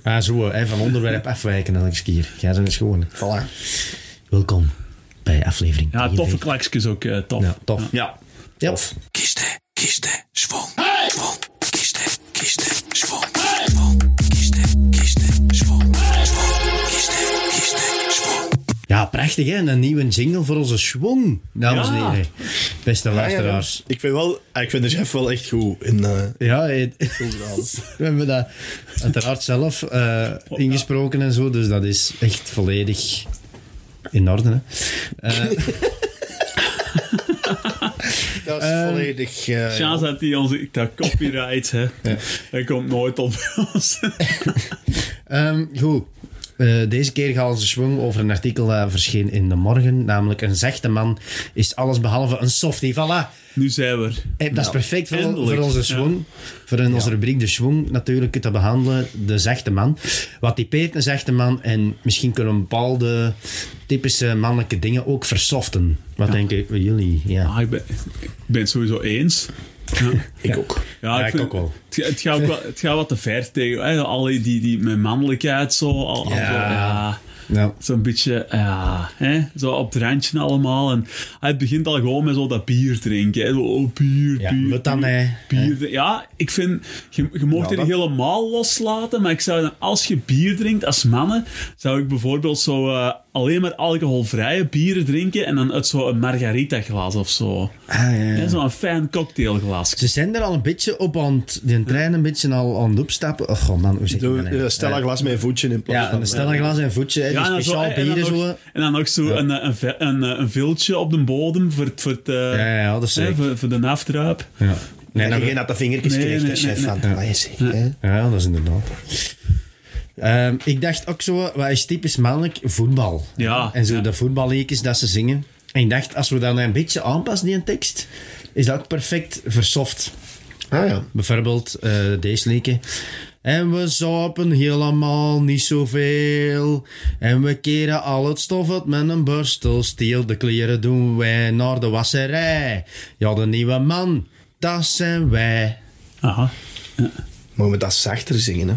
Speaker 1: Ah, zo, hè, van onderwerp afwijken elke keer. Jij zijn schoon.
Speaker 3: Voilà.
Speaker 1: Welkom bij aflevering
Speaker 2: Ja,
Speaker 1: 43.
Speaker 2: toffe klaksjes ook. eh, tof.
Speaker 1: Ja, tof.
Speaker 3: Ja.
Speaker 1: Ja.
Speaker 4: Kiste, kiste, schwung. Schwung. Kiste, kiste, schwung. Schwung. Kiste, kiste, schwung. Schwung. Kiste, kiste, schwung.
Speaker 1: Ja, prachtig hè. Een nieuwe jingle voor onze schwung, dames en
Speaker 2: Ja.
Speaker 1: heren. Beste
Speaker 3: Ja, ja, ja.
Speaker 1: luisteraars.
Speaker 3: Ik vind, wel, ah, ik vind de chef wel echt goed in eh
Speaker 1: Ja, het-
Speaker 3: toegedaan.
Speaker 1: <laughs> we hebben dat uiteraard zelf eh, ingesproken en zo, dus dat is echt volledig in orde. Hè. Eh,
Speaker 3: Dat is volledig... eh,
Speaker 2: Chance dat hij onze ik dacht, copyright, hè. Dat komt nooit op <laughs> ons.
Speaker 1: Ehm, goed. Eh, deze keer gaat onze schwung over een artikel dat verscheen in de morgen, namelijk een zachte man is alles behalve een softie. Voilà.
Speaker 2: nu zijn we er.
Speaker 1: Eh, dat is perfect voor,
Speaker 2: eindelijk.
Speaker 1: voor onze
Speaker 2: Ja.
Speaker 1: swing. Voor in onze rubriek de swing natuurlijk te behandelen. De zachte man. Wat typeert een zachte man? En misschien kunnen we bepaalde typische mannelijke dingen ook versoften. Wat denken jullie? Ja.
Speaker 2: Ah, ik, ben, ik ben het sowieso eens.
Speaker 3: Ik ook.
Speaker 1: Ja, ik
Speaker 2: vind-
Speaker 1: ook wel.
Speaker 2: Het, ga- het gaat ook wel- het gaat wat te ver tegen. Hè? Al die, die met mannelijkheid zo. Al, al
Speaker 1: Ja.
Speaker 2: zo, ja.
Speaker 1: Ja.
Speaker 2: Zo'n beetje, ja, hè? zo op het randje allemaal. En hij begint al gewoon met zo dat bier drinken. Hè? Zo, Oh, bier,
Speaker 1: Ja,
Speaker 2: bier.
Speaker 1: wat dan,
Speaker 2: bier,
Speaker 1: hè?
Speaker 2: bier drinken. Ja, ik vind, je, je mocht
Speaker 3: Ja,
Speaker 2: het
Speaker 3: dat-
Speaker 2: niet helemaal loslaten, maar ik zou dan, als je bier drinkt als mannen, zou ik bijvoorbeeld zo eh, alleen maar alcoholvrije bieren drinken en dan uit zo'n margarita glas of zo.
Speaker 1: Ah, ja,
Speaker 2: Hè,
Speaker 1: ja.
Speaker 2: Zo'n fijn cocktailglas.
Speaker 1: Ze zijn er al een beetje op aan het... Die trein een beetje al aan het opstappen. Oh, god, man, hoe zeg je
Speaker 3: Doe,
Speaker 1: dat nou?
Speaker 3: eh, stel een glas met een voetje in plaats
Speaker 1: Ja,
Speaker 3: van...
Speaker 1: een stellenglas en voetje. hè, die
Speaker 2: dan
Speaker 1: speciaal
Speaker 2: zo- en dan
Speaker 1: bieren
Speaker 2: nog-
Speaker 1: zo.
Speaker 2: En dan ook zo een, eh, een, ve- een, eh, een viltje op de bodem voor, het- voor, het, eh,
Speaker 1: Ja, ja, dat is
Speaker 2: hè,
Speaker 1: zeker.
Speaker 2: voor, voor de aftruip.
Speaker 1: Ja.
Speaker 3: Nee,
Speaker 1: Nee,
Speaker 3: dat
Speaker 1: dat-
Speaker 3: je geen dat de vingertjes
Speaker 2: Nee,
Speaker 3: krijgt, hè,
Speaker 2: nee,
Speaker 3: chef.
Speaker 2: nee,
Speaker 3: van, Ah,
Speaker 1: nee.
Speaker 3: wat is het, hè?
Speaker 1: Ja, dat is inderdaad. Ehm, ik dacht ook zo, wat is typisch mannelijk? Voetbal.
Speaker 2: Ja,
Speaker 1: En zo
Speaker 2: ja.
Speaker 1: dat voetballiedjes dat ze zingen. En ik dacht, als we dat nou een beetje aanpassen, die tekst, is dat ook perfect versoft.
Speaker 3: Ah ja.
Speaker 1: Bijvoorbeeld eh, deze liedje. En we zappen helemaal niet zoveel. En we keren al het stof uit met een borstel. Steel de kleren doen wij naar de wasserij. Ja, de nieuwe man, dat zijn wij.
Speaker 2: Aha.
Speaker 3: Maar we dat zachter zingen,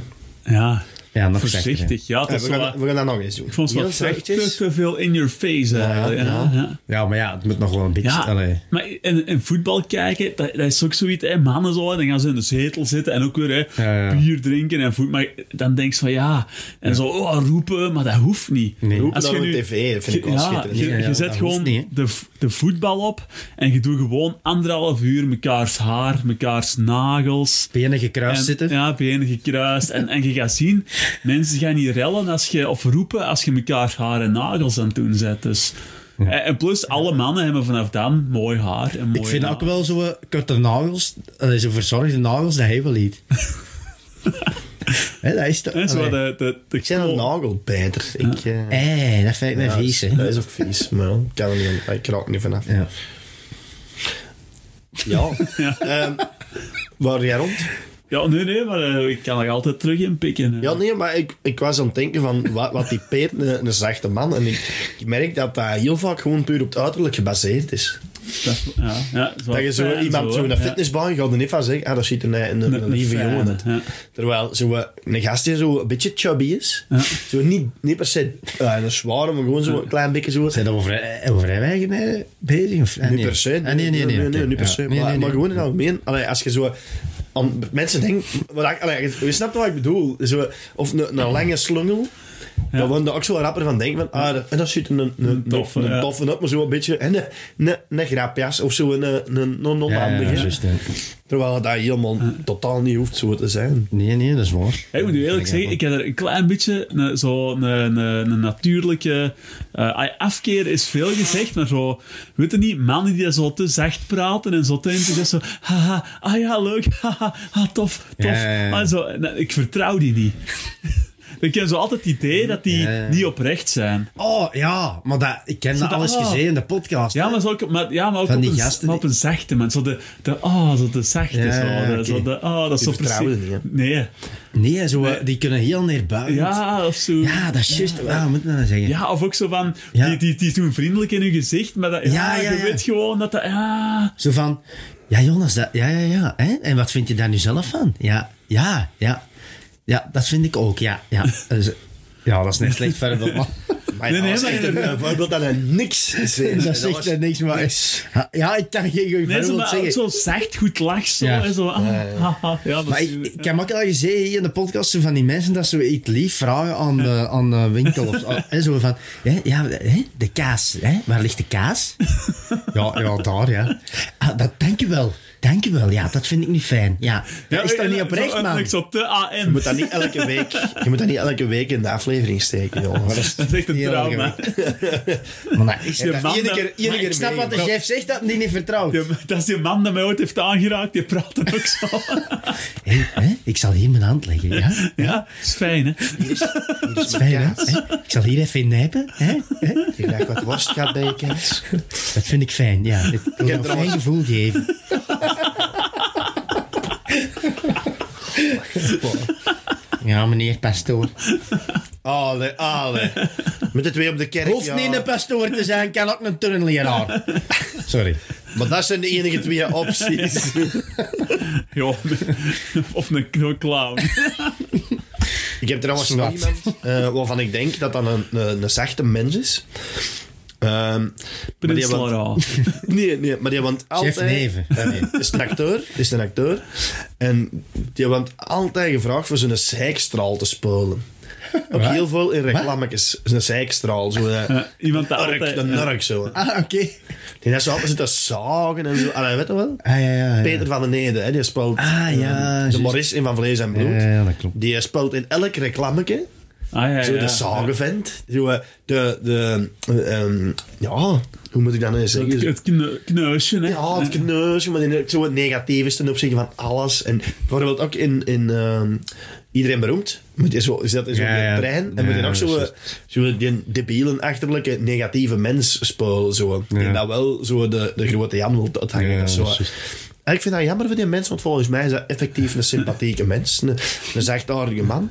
Speaker 3: hè.
Speaker 2: Ja.
Speaker 1: Ja, nog zachter,
Speaker 2: Voorzichtig. Ja, het
Speaker 3: Ja,
Speaker 2: was zo
Speaker 3: we, gaan,
Speaker 2: wat-
Speaker 3: we gaan dat nog eens doen.
Speaker 2: ik vond het
Speaker 3: Heel
Speaker 2: wat te, te-
Speaker 3: zachtjes.
Speaker 2: te veel in your face. Ja, ja, ja. ja.
Speaker 1: hè. Ja, maar ja, het moet nog wel een beetje... allee.
Speaker 2: maar in, in voetbal kijken, dat, dat is ook zoiets, hè, mannen zo, dan gaan ze in de zetel zitten en ook weer hè,
Speaker 1: Ja, ja.
Speaker 2: bier drinken en voet, maar dan denk je van ja, en zo oh, roepen, maar dat hoeft niet.
Speaker 1: Nee.
Speaker 3: Roepen
Speaker 2: Als
Speaker 3: dan
Speaker 2: je
Speaker 3: op
Speaker 2: nu-
Speaker 3: tv, dat vind ik wel
Speaker 2: Ja,
Speaker 3: schitterend.
Speaker 2: je,
Speaker 1: Ja, ja,
Speaker 2: je
Speaker 1: dat
Speaker 2: zet
Speaker 1: hoeft
Speaker 2: gewoon
Speaker 1: niet, hè.
Speaker 2: de, v- de voetbal op en je doet gewoon anderhalf uur mekaars haar, mekaars nagels.
Speaker 1: Benen gekruist
Speaker 2: En,
Speaker 1: zitten.
Speaker 2: ja, benen gekruist. en, en je gaat zien, mensen gaan niet rellen als je, of roepen als je mekaars haar en nagels aan het doen zet. Dus. En, en plus, alle mannen hebben vanaf dan mooi haar. En mooi
Speaker 1: Ik vind ook wel zo'n korte nagels, allee, zo'n verzorgde nagels, dat hij wel
Speaker 2: <laughs>
Speaker 1: liet. Hé, dat is toch...
Speaker 2: Zo
Speaker 1: allee.
Speaker 2: de, de, de
Speaker 3: Ik ben een nagelbijter. Ik, eh,
Speaker 1: Hé, dat vind ik
Speaker 3: ja,
Speaker 1: mij vies, hè.
Speaker 3: Dat is ook vies, maar ik kan er niet aan- ik raak er niet vanaf.
Speaker 1: Ja.
Speaker 3: Ja. Ehm, waar jij rond?
Speaker 2: Ja, nee, nee, maar eh, ik kan er altijd terug eh. in pikken. hè.
Speaker 3: Ja, nee, maar ik, ik was aan het denken van wat, wat typeert een, een zachte man. En ik, ik merk dat dat heel vaak gewoon puur op het uiterlijk gebaseerd is.
Speaker 2: Dat, ja, ja,
Speaker 3: Dat je zo iemand zo in een fitnessbaan gaat en niet van zeggen, ah, dat ziet er een, een, een lieve jongen uit. Terwijl zo, eh, een gast die zo een beetje chubby is, zo niet, niet per se eh, een zware, maar gewoon zo een klein beetje zo.
Speaker 1: Zijn we over, eh, over eigen bezig? Of, eh,
Speaker 3: Niet per se.
Speaker 1: Ah, nee, nee, nee.
Speaker 3: niet per
Speaker 1: Ja.
Speaker 3: se.
Speaker 1: Nee, nee,
Speaker 3: Maar,
Speaker 1: nee.
Speaker 3: maar gewoon in het algemeen. Allee, als je zo... Aan, mensen denken... Wat ik, allee, je, je snapt wat ik bedoel. Zo, of een, een lange slungel.
Speaker 2: Ja.
Speaker 3: Daar worden er ook zo rapper van denken van... Ah, dat- en dat ziet er een, een, een
Speaker 2: toffe,
Speaker 3: toffe, een,
Speaker 2: ja.
Speaker 3: toffe op, maar zo een beetje... En een, een, een grapjas of zo, een, een,
Speaker 1: Ja,
Speaker 3: een
Speaker 1: ja,
Speaker 3: onhandige.
Speaker 1: ja, juist, ja.
Speaker 3: Terwijl dat helemaal totaal niet hoeft zo te zijn.
Speaker 1: Nee, nee, dat is waar.
Speaker 2: Ja, ik moet nu eerlijk zeggen, ik heb er een klein beetje een, zo een, een, een natuurlijke... eh, ah, afkeer is veel gezegd, maar zo... Weet je niet, mannen die zo te zacht praten en zo te enthousiast zo... Haha, ah ja, leuk, <laughs> haha, ah, tof, tof.
Speaker 1: Ja, ja, ja.
Speaker 2: Ah, zo, nou, ik vertrouw die niet. <laughs> ik heb zo altijd het idee dat die
Speaker 1: Ja, ja.
Speaker 2: niet oprecht zijn.
Speaker 1: Oh, ja, maar dat, ik ken dat
Speaker 2: dat-
Speaker 1: alles
Speaker 2: oh.
Speaker 1: gezien in de podcast.
Speaker 2: Ja,
Speaker 1: hè.
Speaker 2: maar, zo, ook- maar, ja, maar ook
Speaker 1: Van
Speaker 2: op
Speaker 1: die
Speaker 2: een,
Speaker 1: gasten
Speaker 2: maar op een zachte man. Zo de, de, oh, zo de zachte.
Speaker 1: Ja,
Speaker 2: zo, de,
Speaker 1: oké.
Speaker 2: zo de, oh, dat is zo
Speaker 3: Die vertrouwen
Speaker 2: precies-
Speaker 3: niet,
Speaker 2: Nee.
Speaker 1: Nee, zo, eh, die kunnen heel neerbuigend.
Speaker 2: Ja, of zo.
Speaker 1: Ja, dat is juist. Ja, wat moet ik nou zeggen?
Speaker 2: Ja, of ook zo van,
Speaker 1: Ja.
Speaker 2: die, die, die is toen vriendelijk in hun gezicht, maar dat, ja,
Speaker 1: Ja, ja,
Speaker 2: je
Speaker 1: ja.
Speaker 2: weet gewoon dat dat, ja,
Speaker 1: Zo van, ja Jonas, dat, ja, ja, ja. Hè? En wat vind je daar nu zelf van? Ja, ja, ja. Ja, dat vind ik ook, ja. Ja, Dus, ja dat is net slecht verder. man.
Speaker 3: Maar
Speaker 2: Nee, nee,
Speaker 3: nee, nee,
Speaker 2: maar
Speaker 3: een,
Speaker 2: inderdaad.
Speaker 3: een voorbeeld eh, dat hij niks is.
Speaker 1: <laughs> Dat zegt er niks, maar... Ja, ik kan geen goed
Speaker 2: nee, zo,
Speaker 1: voorbeeld
Speaker 2: maar
Speaker 1: zeggen.
Speaker 2: ook zo zacht goed lach, zo,
Speaker 1: Ja.
Speaker 2: en zo, ah, ja, ja. dat
Speaker 1: Maar
Speaker 2: is-
Speaker 1: ik, ik heb ook al gezien hier in de podcast zo van die mensen dat ze iets lief vragen aan de, aan de winkel.
Speaker 2: <laughs>
Speaker 1: Of, zo. hè, zo van, hè, ja, hè, de kaas. Hè, waar ligt de kaas? Ja, ja daar, ja. Ah, dat, dank u wel. Dank u wel. Ja, dat vind ik niet fijn. Ja, dat
Speaker 2: Ja,
Speaker 1: is toch
Speaker 2: en-
Speaker 1: niet
Speaker 2: en- zo-
Speaker 1: oprecht,
Speaker 2: en
Speaker 1: man?
Speaker 2: Ik zo te
Speaker 3: Je
Speaker 2: AM.
Speaker 3: moet dat niet elke week, je moet dat niet elke week in de aflevering
Speaker 1: <laughs>
Speaker 3: steken, joh. Dat is-
Speaker 2: Dat is echt een
Speaker 1: Heel
Speaker 2: trauma.
Speaker 1: Maar dat is
Speaker 2: Je man
Speaker 3: Iedere
Speaker 2: dat-
Speaker 3: keer, iedere
Speaker 1: Maar
Speaker 3: keer
Speaker 1: ik snap wat de
Speaker 3: meegebracht.
Speaker 1: chef zegt, dat hij die niet vertrouwt.
Speaker 2: Ja, maar Dat is die man die mij ooit heeft aangeraakt, die praat er ook zo.
Speaker 1: Hé, hè, ik zal hier mijn hand leggen,
Speaker 2: <laughs>
Speaker 1: ja?
Speaker 2: Ja, is fijn, <laughs> hè?
Speaker 1: Dat is fijn, hè? Hè, Ik zal hier even in nijpen, hè? Hè?
Speaker 3: Ik dacht wat worst gaat bij je kind.
Speaker 1: Dat vind ik fijn, ja. Het wil
Speaker 3: heb
Speaker 1: een
Speaker 3: trouwens-
Speaker 1: fijn gevoel geven. Ja, meneer pastoor.
Speaker 3: Alle, alle. Met het weer op de kerk.
Speaker 1: Hoeft
Speaker 3: ja.
Speaker 1: niet een pastoor te zijn, kan ook een turnleraar. Sorry.
Speaker 3: Maar dat zijn de enige twee opties.
Speaker 2: Ja, of een, of een clown.
Speaker 3: Ik heb trouwens nog
Speaker 1: Zwart.
Speaker 3: iemand eh, waarvan ik denk dat dat een, een, een zachte mens is. Ehm, maar die
Speaker 2: Prins
Speaker 3: hebben-
Speaker 2: Lara.
Speaker 3: <laughs> Nee, nee, maar die want altijd...
Speaker 1: Chef Neven.
Speaker 3: Eh, nee, is een acteur, is een acteur. En die want altijd gevraagd voor zo'n zeikstraal te spelen. Ook heel veel in reclametjes. Zo'n zeikstraal, zo'n eh,
Speaker 2: Iemand dat
Speaker 3: nurk,
Speaker 2: altijd...
Speaker 3: een nurk zo.
Speaker 1: Ah, oké.
Speaker 3: Die heeft zo altijd zitten zagen en zo. Allee, weet je wel?
Speaker 1: Ah, ja, ja, ja.
Speaker 3: Peter van den Nede, hè, die speelt
Speaker 1: Ah, ja,
Speaker 3: eh, de
Speaker 1: juist.
Speaker 3: Maurice in Van Vlees en Bloed.
Speaker 1: Ja, ja, dat klopt.
Speaker 3: Die speelt in elk reclametje
Speaker 2: Ah, ja,
Speaker 3: zo
Speaker 2: ja.
Speaker 3: de zagenvent. Zo eh, de, de ehm, ja, hoe moet ik dat nou
Speaker 2: Het,
Speaker 3: zeggen?
Speaker 2: het kne- kneusje, hè.
Speaker 3: Ja,
Speaker 1: Dus-
Speaker 3: het kneusje, maar in- zo het negatief is ten opzichte van alles. En bijvoorbeeld ook in, in ehm, Iedereen Beroemd, moet je zo, is dat in zo'n
Speaker 1: Ja, ja.
Speaker 3: trein. En
Speaker 1: Ja,
Speaker 3: moet je
Speaker 1: ja, dat
Speaker 3: ook zo,
Speaker 1: is
Speaker 3: eh, zo die debielen, achterlijke, negatieve mens spelen. Zo. En dat wel zo de, de grote Jan wil uithangen.
Speaker 1: Ja,
Speaker 3: dat is zo.
Speaker 1: dat is juist.
Speaker 3: En ik vind dat jammer voor die mensen, want volgens mij is dat effectief een sympathieke mens. Een, een zachtaardige man.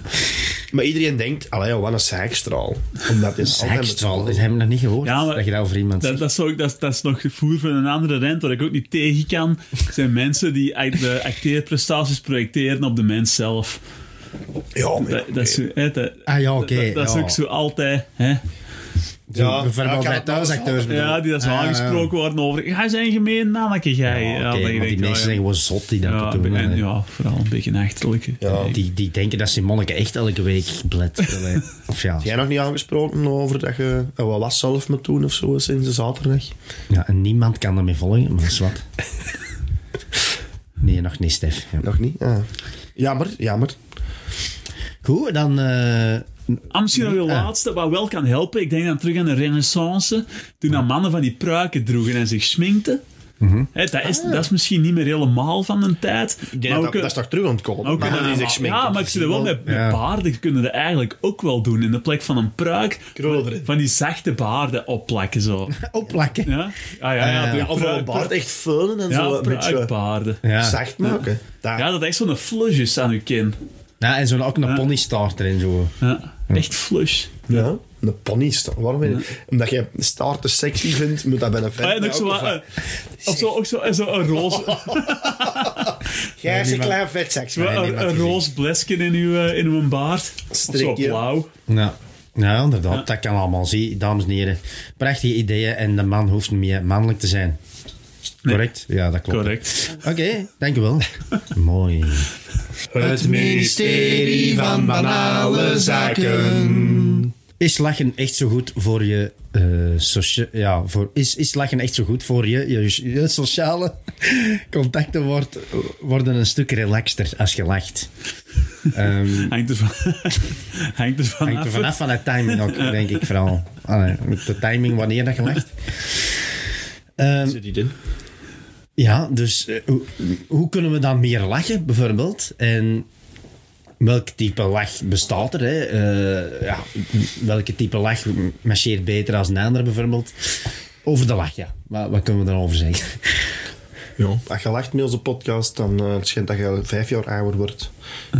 Speaker 3: Maar iedereen denkt, allee, wat een zeikstraal. Omdat hij altijd met
Speaker 1: Zekstral, dat
Speaker 3: spullen-
Speaker 1: hebben we nog niet gehoord.
Speaker 2: Ja, maar-
Speaker 1: dat je dat over iemand
Speaker 2: Dat, dat, zou ik- dat, dat is nog voer van een andere rent, waar ik ook niet tegen kan. zijn mensen die act- de acteerprestaties projecteren op de mens zelf.
Speaker 3: Ja, maar ja,
Speaker 2: Dat, dat is, zo- hè, dat,
Speaker 1: Ah, ja, oké,
Speaker 2: dat- dat is
Speaker 1: ja.
Speaker 2: ook zo altijd. Hè?
Speaker 1: Ja,
Speaker 3: ja,
Speaker 1: bijvoorbeeld
Speaker 3: kan
Speaker 1: bij
Speaker 3: het nou
Speaker 1: thuisacteurs. bedoel
Speaker 2: Ja,
Speaker 1: ik.
Speaker 2: die dat zo
Speaker 1: Ah, ja, ja.
Speaker 2: aangesproken worden over. Jij zijn een gemeen mannetje, jij.
Speaker 1: Ja,
Speaker 2: Ja,
Speaker 1: oké,
Speaker 2: dan
Speaker 1: maar
Speaker 2: denk
Speaker 1: die
Speaker 2: ik,
Speaker 1: mensen zijn
Speaker 2: ja,
Speaker 1: gewoon zot die dat
Speaker 2: ja,
Speaker 1: doen.
Speaker 2: en,
Speaker 1: hè.
Speaker 2: ja, vooral een beetje een achterlijke.
Speaker 3: Ja.
Speaker 1: Die, die denken dat Simonneke echt elke week bled. Allee.
Speaker 3: <laughs>
Speaker 1: of ja,
Speaker 3: Jij nog niet aangesproken over dat je eh, wat was zelf moet doen of zo sinds de zaterdag?
Speaker 1: ja, en niemand kan ermee volgen, maar dat is wat. Nee, nog niet, Stef. Ja.
Speaker 3: Nog niet? Ja. Ah. Jammer, jammer.
Speaker 1: Goed, dan... eh,
Speaker 2: Ah, misschien nog de laatste, wat wel kan helpen. Ik denk dan terug aan de renaissance. Toen dat mannen van die pruiken droegen en zich sminkten.
Speaker 1: Mhm.
Speaker 2: Hè, dat, is, dat is misschien niet meer helemaal van de tijd.
Speaker 3: Ik denk
Speaker 2: maar eh, we
Speaker 3: dat,
Speaker 2: kun-
Speaker 3: dat is toch terug aan het komen?
Speaker 2: maar we kunnen-
Speaker 3: Mannen die zich sminken.
Speaker 2: ja, maar ik zie dat wel met, met baarden. kunnen dat eigenlijk ook wel doen. In de plek van een pruik.
Speaker 3: Krul erin.
Speaker 2: Van die zachte baarden opplakken zo.
Speaker 1: opplakken.
Speaker 2: Ja? Ah, ja, ja, doe
Speaker 3: Ja, of wel
Speaker 2: pruik-
Speaker 3: een baard echt vullen en
Speaker 2: Ja,
Speaker 3: zo een beetje
Speaker 2: pruikbaarden.
Speaker 1: Ja.
Speaker 3: zacht maken. Daar.
Speaker 2: Ja, dat echt zo'n flush is aan uw kin.
Speaker 1: Ja, en zo ook een ponystaart erin. Zo.
Speaker 2: Ja, echt flush.
Speaker 3: Ja, Een pony staart. Waarom? weet je- Omdat je staart te sexy vindt, moet dat bij een vent.
Speaker 2: Ah, en ook zo, wat, eh, of zo, ook zo, en zo een roze,
Speaker 3: Jij is een klein vetzak.
Speaker 2: Wel,
Speaker 1: nee,
Speaker 2: een,
Speaker 1: maar
Speaker 2: een
Speaker 1: het is
Speaker 2: roze blesje in uw, eh, in uw baard. Of zo
Speaker 3: Strikje.
Speaker 2: blauw.
Speaker 1: Ja. ja, inderdaad. Dat kan allemaal. Zie, dames en heren. Prachtige ideeën en de man hoeft niet meer mannelijk te zijn. Correct? Ja, dat klopt.
Speaker 2: Correct.
Speaker 1: Oké, dankjewel. <laughs> Mooi.
Speaker 3: Het ministerie van Banale Zaken.
Speaker 1: Is lachen echt zo goed voor je eh socia- ja, voor, is, is lachen echt zo goed voor je, je, je sociale <laughs> contacten wordt, worden een stuk relaxter als je lacht. Ehm
Speaker 2: Hangt ervan, <laughs> hangt ervan
Speaker 1: hangt
Speaker 2: af.
Speaker 1: er vanaf van de timing ook, denk ik vooral. Allee, met de timing wanneer dat je lacht. Ehm,
Speaker 3: Zit die in?
Speaker 1: ja, dus eh, hoe, hoe kunnen we dan meer lachen, bijvoorbeeld? En welk type lach bestaat er? Hè? Eh, ja, welke type lach marcheert beter als een andere, bijvoorbeeld? Over de lach, ja. Wat, wat kunnen we daarover zeggen?
Speaker 3: Ja. Als je lacht met onze podcast, dan eh, het schijnt dat je vijf jaar ouder wordt.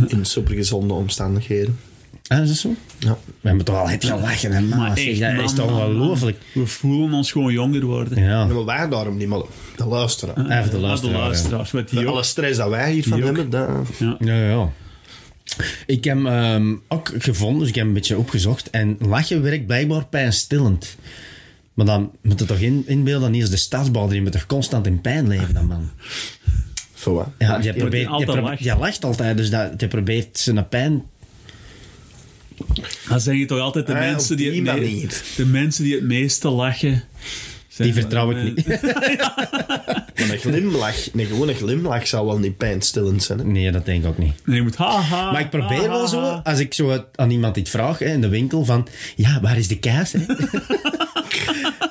Speaker 3: In supergezonde omstandigheden.
Speaker 1: Ah, is dat zo?
Speaker 3: Ja.
Speaker 1: We hebben toch al het lachen, hè, man?
Speaker 2: Maar
Speaker 1: Ah, Zeg,
Speaker 2: echt,
Speaker 1: dat
Speaker 2: man,
Speaker 1: is toch
Speaker 2: man, man.
Speaker 1: ongelooflijk?
Speaker 2: We voelen ons gewoon jonger worden.
Speaker 1: Ja,
Speaker 3: Maar wij daarom niet, maar de luisteraar.
Speaker 1: even de
Speaker 2: Ah, de
Speaker 1: luisteraar. ja.
Speaker 2: luisteraars. Met die
Speaker 3: De
Speaker 2: ook.
Speaker 3: alle stress dat wij hiervan
Speaker 2: Die ook.
Speaker 3: hebben, dat...
Speaker 1: Ja, ja. Ik heb ehm, ook gevonden, dus ik heb een beetje opgezocht. En lachen werkt blijkbaar pijnstillend. Maar dan moet je toch in, inbeelden, niet eens de stadsbouw die moet toch constant in pijn leven, dan man.
Speaker 3: Voor wat?
Speaker 1: Ja, je,
Speaker 2: je
Speaker 1: probeert,
Speaker 2: moet
Speaker 1: je,
Speaker 2: altijd
Speaker 1: probeert-
Speaker 2: lachen.
Speaker 1: je lacht altijd, dus dat, je probeert zijn pijn...
Speaker 2: Dan zijn je toch altijd de,
Speaker 3: Ah,
Speaker 2: mensen
Speaker 3: op
Speaker 2: die
Speaker 3: die
Speaker 2: het me-
Speaker 3: manier.
Speaker 2: de mensen die het meeste lachen. zijn
Speaker 1: Die vertrouw
Speaker 2: de
Speaker 1: ik niet. <laughs>
Speaker 3: Maar een glimlach, een gewone glimlach zou wel niet pijnstillend zijn. hè?
Speaker 1: Nee, dat denk ik ook niet.
Speaker 2: <laughs> Nee, je moet haha.
Speaker 1: Maar ik probeer wel
Speaker 2: Ah,
Speaker 1: zo, als ik zo aan iemand iets vraag hè, in de winkel, van... Ja, waar is de kaas? hè?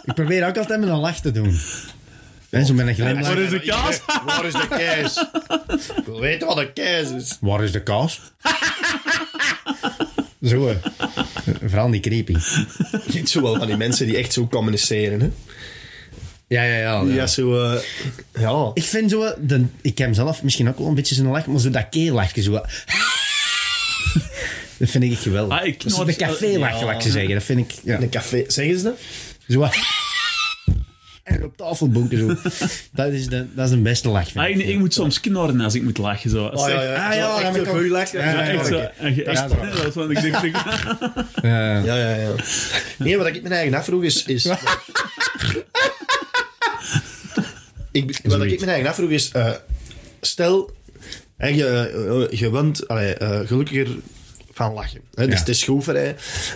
Speaker 1: ik probeer ook altijd met een lach te doen. Hè, zo met een
Speaker 2: Waar
Speaker 1: glimlach.
Speaker 2: is de kaas?
Speaker 3: Waar is de kaas? Ik wil weten wat een kaas is.
Speaker 1: Waar is de kaas? <laughs> zo, hè. Vooral die creepy.
Speaker 3: Je ziet zo wel van die mensen die echt zo communiceren. Hè?
Speaker 1: Ja, ja, ja.
Speaker 3: Ja, zo... eh, ja.
Speaker 1: Ik vind zo... De, ik heb zelf misschien ook wel een beetje zo'n lach, maar zo dat keellachje, zo... dat vind ik echt geweldig.
Speaker 2: Ah, ik
Speaker 1: Dat is
Speaker 2: knor-
Speaker 1: de café lach,
Speaker 2: Ja.
Speaker 1: wat ik ze zeggen. Dat vind ik... Ja.
Speaker 3: In een café... Zeggen ze dat?
Speaker 1: Zo... en op tafel bonken zo. Dat is, de, dat is een beste lach. vind
Speaker 2: Ah,
Speaker 1: ik.
Speaker 2: ik, ik moet soms knorren als ik moet lachen. Zo. Als ik-
Speaker 3: Ah,
Speaker 1: dat
Speaker 3: ja, echt
Speaker 1: kan
Speaker 3: op
Speaker 1: ik.
Speaker 3: u lachen.
Speaker 1: Ja,
Speaker 2: Ja,
Speaker 1: ja,
Speaker 2: echt zo. En je-
Speaker 1: is
Speaker 2: echt-
Speaker 1: waar.
Speaker 2: nee, dat is wat ik denk. denk-
Speaker 1: Ja, ja.
Speaker 3: Ja, ja, ja. Nee, wat ik mijn eigen afvroeg is... is ik, wat ik mijn eigen afvroeg is... eh, stel, hè, je, eh, je wint allee, eh, gelukkiger van lachen. Hè, dus
Speaker 1: Ja.
Speaker 3: het is goed voor hij.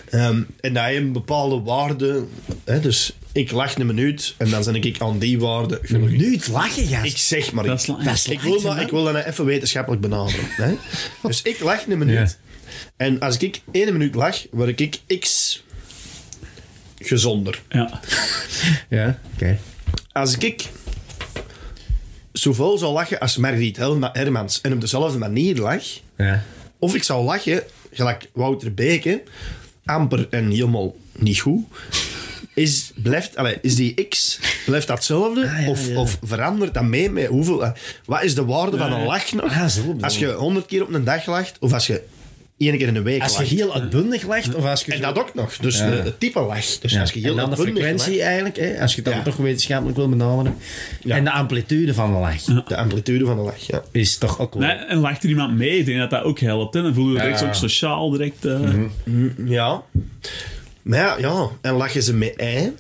Speaker 3: Ehm, en dat je een bepaalde waarde... Hè, dus ik lach een minuut en dan ben ik aan die waarde gelukkig.
Speaker 1: Nu het lachen, gast.
Speaker 3: Ik zeg maar...
Speaker 2: Dat
Speaker 3: iets.
Speaker 2: is lang. Dat is
Speaker 3: ik, wil dat, ik wil dat nou even wetenschappelijk benaderen. Hè? Dus ik lach een minuut. En als ik één minuut lach, word ik x gezonder.
Speaker 2: Ja.
Speaker 1: Ja, oké.
Speaker 3: Als ik zoveel zou lachen als Margriet Helma- Hermans en op dezelfde manier lach,
Speaker 1: Ja.
Speaker 3: of ik zou lachen, gelijk Wouter Beke, amper en helemaal niet goed, is, blijft, allee, is die X, blijft datzelfde?
Speaker 1: Ah, ja,
Speaker 3: of,
Speaker 1: ja.
Speaker 3: of verandert dat mee met hoeveel... eh, wat is de waarde van een lach nog?
Speaker 1: Ah, zo bedoel
Speaker 3: als je
Speaker 1: je.
Speaker 3: honderd keer op een dag lacht, of als je één keer in een week
Speaker 1: Als je
Speaker 3: lacht.
Speaker 1: heel uitbundig lacht, of als je...
Speaker 3: En
Speaker 1: zo-
Speaker 3: dat ook nog. Dus
Speaker 1: Ja.
Speaker 3: eh, het type lach. Dus
Speaker 1: Ja.
Speaker 3: als je heel
Speaker 1: en dan de
Speaker 3: uitbundig
Speaker 1: frequentie
Speaker 3: lacht,
Speaker 1: eigenlijk, hè, als je het dan
Speaker 3: Ja.
Speaker 1: toch wetenschappelijk wil benaderen. En de amplitude van de lach
Speaker 3: de amplitude van de lach, ja.
Speaker 1: is toch ook wel...
Speaker 2: Nee, en lacht er iemand mee, ik denk dat dat ook helpt. Hè? Dan voelen we direct ook sociaal direct. eh,
Speaker 3: Ja. Maar ja, ja. en lachen ze met ei?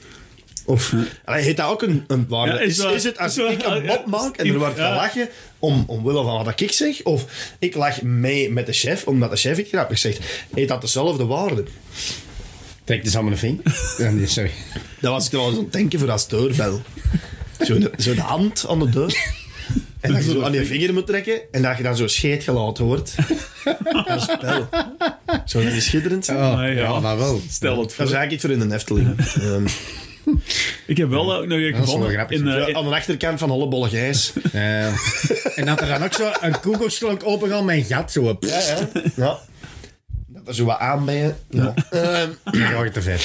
Speaker 3: Of Allee, heet dat ook een, een waarde?
Speaker 2: Ja, is
Speaker 3: is,
Speaker 2: dat-
Speaker 3: is het als
Speaker 2: is dat-
Speaker 3: ik een mop
Speaker 2: ja,
Speaker 3: maak en er wordt
Speaker 2: ja.
Speaker 3: gelachen om, omwille van wat ik zeg? Of ik lach mee met de chef omdat de chef iets grappig zegt? Heet dat dezelfde waarde?
Speaker 1: Trek dus allemaal een vinger. Ja, nee, sorry.
Speaker 3: Dat was ik trouwens aan het denken voor als deurbel. Zo'n zo de hand aan de deur. En dat je zo aan je vinger moet trekken en dat je dan zo scheet gelaten wordt. Dat is spel. Zou dat niet schitterend zijn?
Speaker 1: Oh,
Speaker 2: maar ja.
Speaker 1: ja, maar wel.
Speaker 2: Stel het
Speaker 3: Dat
Speaker 2: voor.
Speaker 3: is eigenlijk iets voor in de Efteling. Ehm,
Speaker 2: Ik heb wel ook nog een
Speaker 1: is wel
Speaker 2: gevonden.
Speaker 1: grappig.
Speaker 2: In, eh,
Speaker 3: Zo aan de achterkant van alle bolle gijs.
Speaker 1: Ja. Ehm, en dat er dan ook zo een koekoeksklok opengaat met een gat zo op.
Speaker 3: <laughs> Ja, ja. ja. Dat er zo wat aan bij je. Ja. Ehm,
Speaker 1: Dan ga je te ver.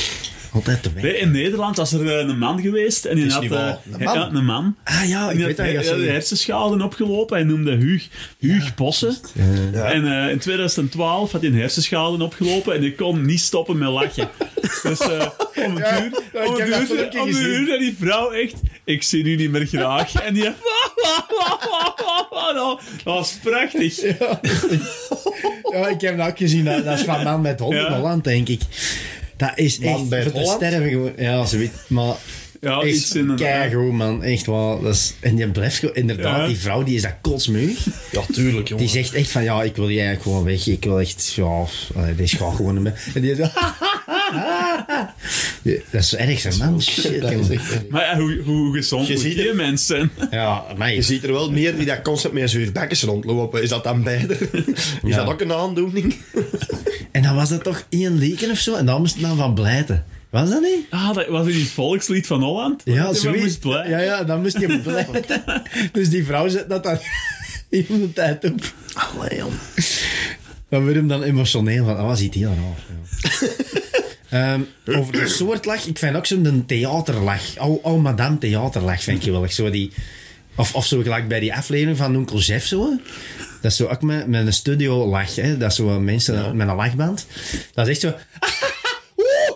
Speaker 1: Altijd te ver.
Speaker 2: nee, in Nederland was er eh, een man geweest. En die
Speaker 3: is
Speaker 2: had
Speaker 3: niet
Speaker 2: eh,
Speaker 3: waar. Een
Speaker 2: ja,
Speaker 3: man?
Speaker 2: ja, een man.
Speaker 1: Ah ja, ik
Speaker 2: Die
Speaker 1: weet dat
Speaker 2: had
Speaker 1: je
Speaker 2: he-
Speaker 1: gaat
Speaker 2: ja, de
Speaker 1: zeggen.
Speaker 2: hersenschade opgelopen. Hij noemde Huug, Huug Bossen. En eh, in 2012 had hij een hersenschade opgelopen en hij kon niet stoppen met lachen.
Speaker 1: <laughs>
Speaker 2: dus eh, om een uur,
Speaker 1: ja,
Speaker 2: om
Speaker 1: ik heb dat
Speaker 2: een
Speaker 1: filmpje
Speaker 2: uur, om een
Speaker 1: gezien.
Speaker 2: uur zei die vrouw echt, ik zie u niet meer graag.
Speaker 1: <laughs>
Speaker 2: en die, <laughs> Nou, dat was prachtig.
Speaker 1: Ja, ik heb dat ook gezien. Dat, dat is van man met hond in
Speaker 2: Ja.
Speaker 1: Holland, denk ik. Dat is
Speaker 3: Man
Speaker 1: echt
Speaker 3: bij
Speaker 1: voor te
Speaker 3: Holland?
Speaker 1: sterven gewoon. Ja, zoiets. Maar
Speaker 2: Ja,
Speaker 1: is
Speaker 2: iets in een-
Speaker 1: keigoed, man. Echt wel. Dat is, en die blijft gewoon- inderdaad,
Speaker 2: Ja.
Speaker 1: die vrouw die is dat kotsmuur.
Speaker 3: ja, tuurlijk, jongen.
Speaker 1: Die zegt echt van, ja, ik wil die eigenlijk gewoon weg. Ik wil echt, ja, allee, deze gaat gewoon niet meer. En die zo, <laughs> Ja, Dat is erg, zeg, man. Shit,
Speaker 3: Dat is
Speaker 1: jongen.
Speaker 3: echt-
Speaker 2: Maar ja, hoe, hoe gezond
Speaker 3: Je
Speaker 2: moet
Speaker 3: ziet
Speaker 2: die
Speaker 3: het.
Speaker 2: mensen <laughs> zijn?
Speaker 1: Ja,
Speaker 3: Je
Speaker 1: mij.
Speaker 3: ziet er wel meer die dat constant met zijn bakjes rondlopen. Is dat dan beide? Is dat ook een aandoening?
Speaker 1: En dan was dat toch één leken of zo? En dan moest het dan van blijten. Was dat niet?
Speaker 2: Ah, dat was in het volkslied van Holland.
Speaker 1: Ja,
Speaker 2: zo
Speaker 1: zoiets.
Speaker 2: moest blij.
Speaker 1: Ja, ja, dan moest
Speaker 3: <laughs>
Speaker 1: je blijten. dus die vrouw zet dat dan <laughs> even de tijd op.
Speaker 3: Allee, jong.
Speaker 1: Dan werd hem dan emotioneel van, "Ah, dat was iets heel raar. Ja. Ehm, over de soort lach, ik vind ook zo'n theaterlach. Al, al madame theaterlach vind ik wel. echt Zo die, of, of zo gelijk bij die aflevering van Onkel Jeff zo. hè. Dat is zo ook met, met een studio lach. Hè. Dat is zo mensen met een lachband. Dat is echt zo... <laughs> Oeh,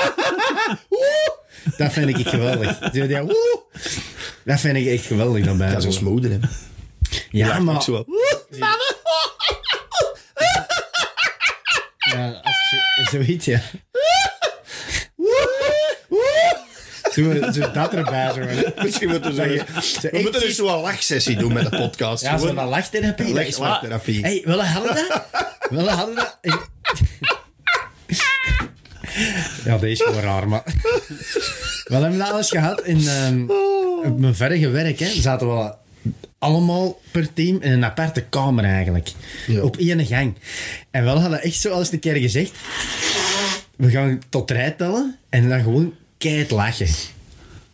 Speaker 1: <laughs> oeh, oeh. Dat vind ik geweldig. Zo die, oeh. Dat vind ik echt geweldig. Dan bij
Speaker 3: Dat is ons moeder, hè.
Speaker 1: ja,
Speaker 3: Ook
Speaker 1: maar...
Speaker 3: zo.
Speaker 1: Ja, ook zo- zoiets, ja. Zo, zo dat erbij, zo.
Speaker 3: Misschien moeten we zeggen...
Speaker 1: Ze
Speaker 3: We moeten
Speaker 1: echt-
Speaker 3: dus zo'n lachsessie doen met de podcast.
Speaker 1: Ja,
Speaker 3: Gewoon
Speaker 1: zo'n lachtherapie. dat is wel-
Speaker 3: lachtherapie.
Speaker 1: Hé, hey, willen hadden dat? Willen hadden dat? Ik- Ja, deze is wel raar, maar... We hebben dat alles gehad in ehm, op mijn verre werk. Hè, zaten we allemaal per team in een aparte kamer eigenlijk.
Speaker 3: Ja.
Speaker 1: Op één gang. En we hadden echt zo al eens een keer gezegd... We gaan tot rij tellen en dan gewoon keihard lachen.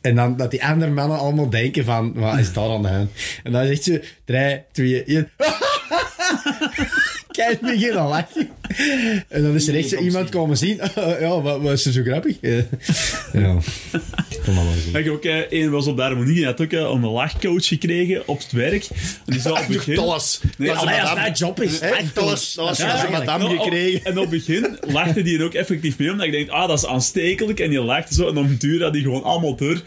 Speaker 1: En dan dat die andere mannen allemaal denken van... Wat is dat aan de hand? En dan zegt ze... 3, 2, 1... Kijk, beginnen lachen. En dan is er echt zo iemand komen zien. <laughs> ja, wat was ze zo grappig? Ja. ja. Kom maar maar zien.
Speaker 2: Ik heb ook eh, een was op de harmonie, die had ook eh, een lachcoach gekregen op het werk. En die zou op het begin...
Speaker 3: Alles.
Speaker 2: Nee,
Speaker 3: Dat is
Speaker 1: Allee, als
Speaker 3: madame.
Speaker 1: dat job is.
Speaker 3: Hè?
Speaker 1: echt
Speaker 3: Dat was- dat was
Speaker 1: Ja,
Speaker 3: van zijn
Speaker 1: eigenlijk.
Speaker 3: madame
Speaker 2: Nou, op-
Speaker 3: gekregen.
Speaker 2: En op het begin lachte die er ook effectief mee, omdat ik denk, ah, dat is aanstekelijk. En die lachte zo, en op een duur had die gewoon allemaal door.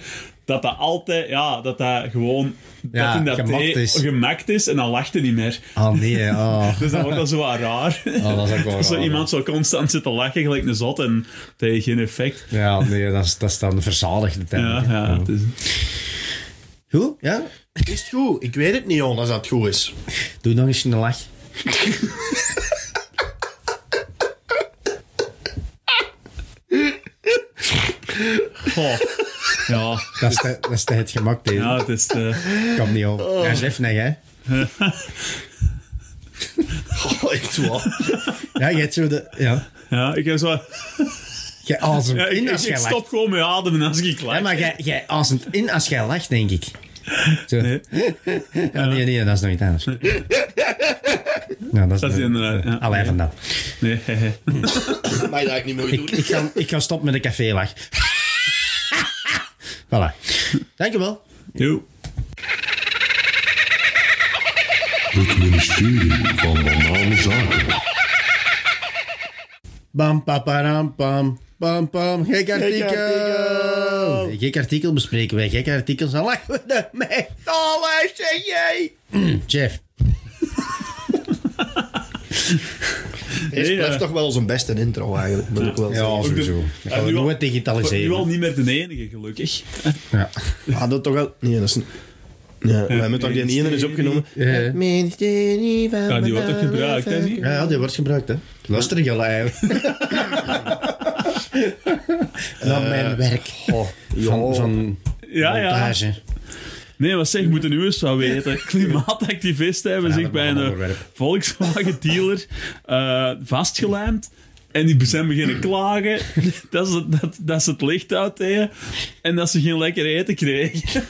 Speaker 2: dat dat altijd, ja, dat dat gewoon
Speaker 1: Ja,
Speaker 2: dat in dat
Speaker 1: gemakt
Speaker 2: thee
Speaker 1: is.
Speaker 2: gemakt is en dan lacht hij niet meer.
Speaker 1: Oh nee, hè. oh.
Speaker 2: Dus dan wordt dat zo wat raar.
Speaker 1: Oh, dat is ook wel
Speaker 2: <laughs> zo
Speaker 1: raar,
Speaker 2: iemand zo constant zit te lachen, gelijk een zot, en dat heeft geen effect.
Speaker 1: Ja, nee, dat is, dat is dan verzadigd
Speaker 2: Ja,
Speaker 1: uiteindelijk.
Speaker 2: ja. het is-
Speaker 1: Goed, ja?
Speaker 3: Is het goed? Ik weet het niet, Jon, als dat goed is.
Speaker 1: Doe nog eens een lach.
Speaker 2: Goh. Ja,
Speaker 1: Dat is te, dat is te het gemak, deze.
Speaker 2: ja, het is... eh,
Speaker 1: Kom niet op. Ja, chef, nee, hè?
Speaker 3: Oh, echt waar.
Speaker 1: Ja, je hebt zo de... Ja.
Speaker 2: ja, ik heb zo...
Speaker 1: Jij ademt
Speaker 2: Ja, ik,
Speaker 1: in
Speaker 2: ik,
Speaker 1: als
Speaker 2: ik
Speaker 1: jij lacht.
Speaker 2: stop gewoon met ademen als ik lach.
Speaker 1: Ja, maar jij, jij ademt in als jij lacht, denk ik. Zo.
Speaker 2: Nee.
Speaker 1: Ja, nee, nee, dat is nog iets anders. Nou, dat is,
Speaker 2: Dat is inderdaad, ja.
Speaker 1: Alleen van dat.
Speaker 2: Nee,
Speaker 3: Mag je dat eigenlijk niet meer
Speaker 1: Ik,
Speaker 3: doen?
Speaker 1: ik, ga, ik ga stoppen met de cafélach. voilà. Dankjewel.
Speaker 2: Yo.
Speaker 5: Het ministerie van Banale Zaken.
Speaker 1: Bam, paparam, pam. Bam, pam. Gek artikel. Gek artikel bespreken wij. Gekke artikels. Dan lachen we ermee.
Speaker 3: Oh, waar zeg jij?
Speaker 1: Jeff.
Speaker 3: Dit
Speaker 2: Nee,
Speaker 3: blijft
Speaker 2: eh.
Speaker 3: toch wel onze beste intro eigenlijk, moet ik wel zeggen.
Speaker 1: sowieso. Dat gaan we
Speaker 2: nu al-
Speaker 1: nooit
Speaker 2: Nu al
Speaker 1: digitaliseren.
Speaker 2: niet meer de enige, gelukkig.
Speaker 1: Ja.
Speaker 3: Ah, dat toch wel... Nee, dat is... een- Ja, we hebben toch die ene is opgenomen. Het ministerie
Speaker 1: Eh,
Speaker 3: van
Speaker 2: Ja, die wordt ook gebruikt, hè? niet?
Speaker 1: Ja, ja, die wordt gebruikt, hè. Luister je al eigenlijk. <laughs> Naar mijn werk. van, van
Speaker 2: Ja,
Speaker 1: Ah,
Speaker 2: ja.
Speaker 1: montage.
Speaker 2: Nee, wat zeg, moeten nu eens
Speaker 1: <laughs>
Speaker 2: wat weten. Klimaatactivisten hebben zich
Speaker 1: dat
Speaker 2: bij
Speaker 1: mag een
Speaker 2: een
Speaker 1: onderwerp.
Speaker 2: Volkswagen-dealer eh, vastgelijmd. En die zijn beginnen
Speaker 1: <laughs>
Speaker 2: klagen dat ze, dat, dat ze het licht uitdeden en dat ze geen lekker eten kregen.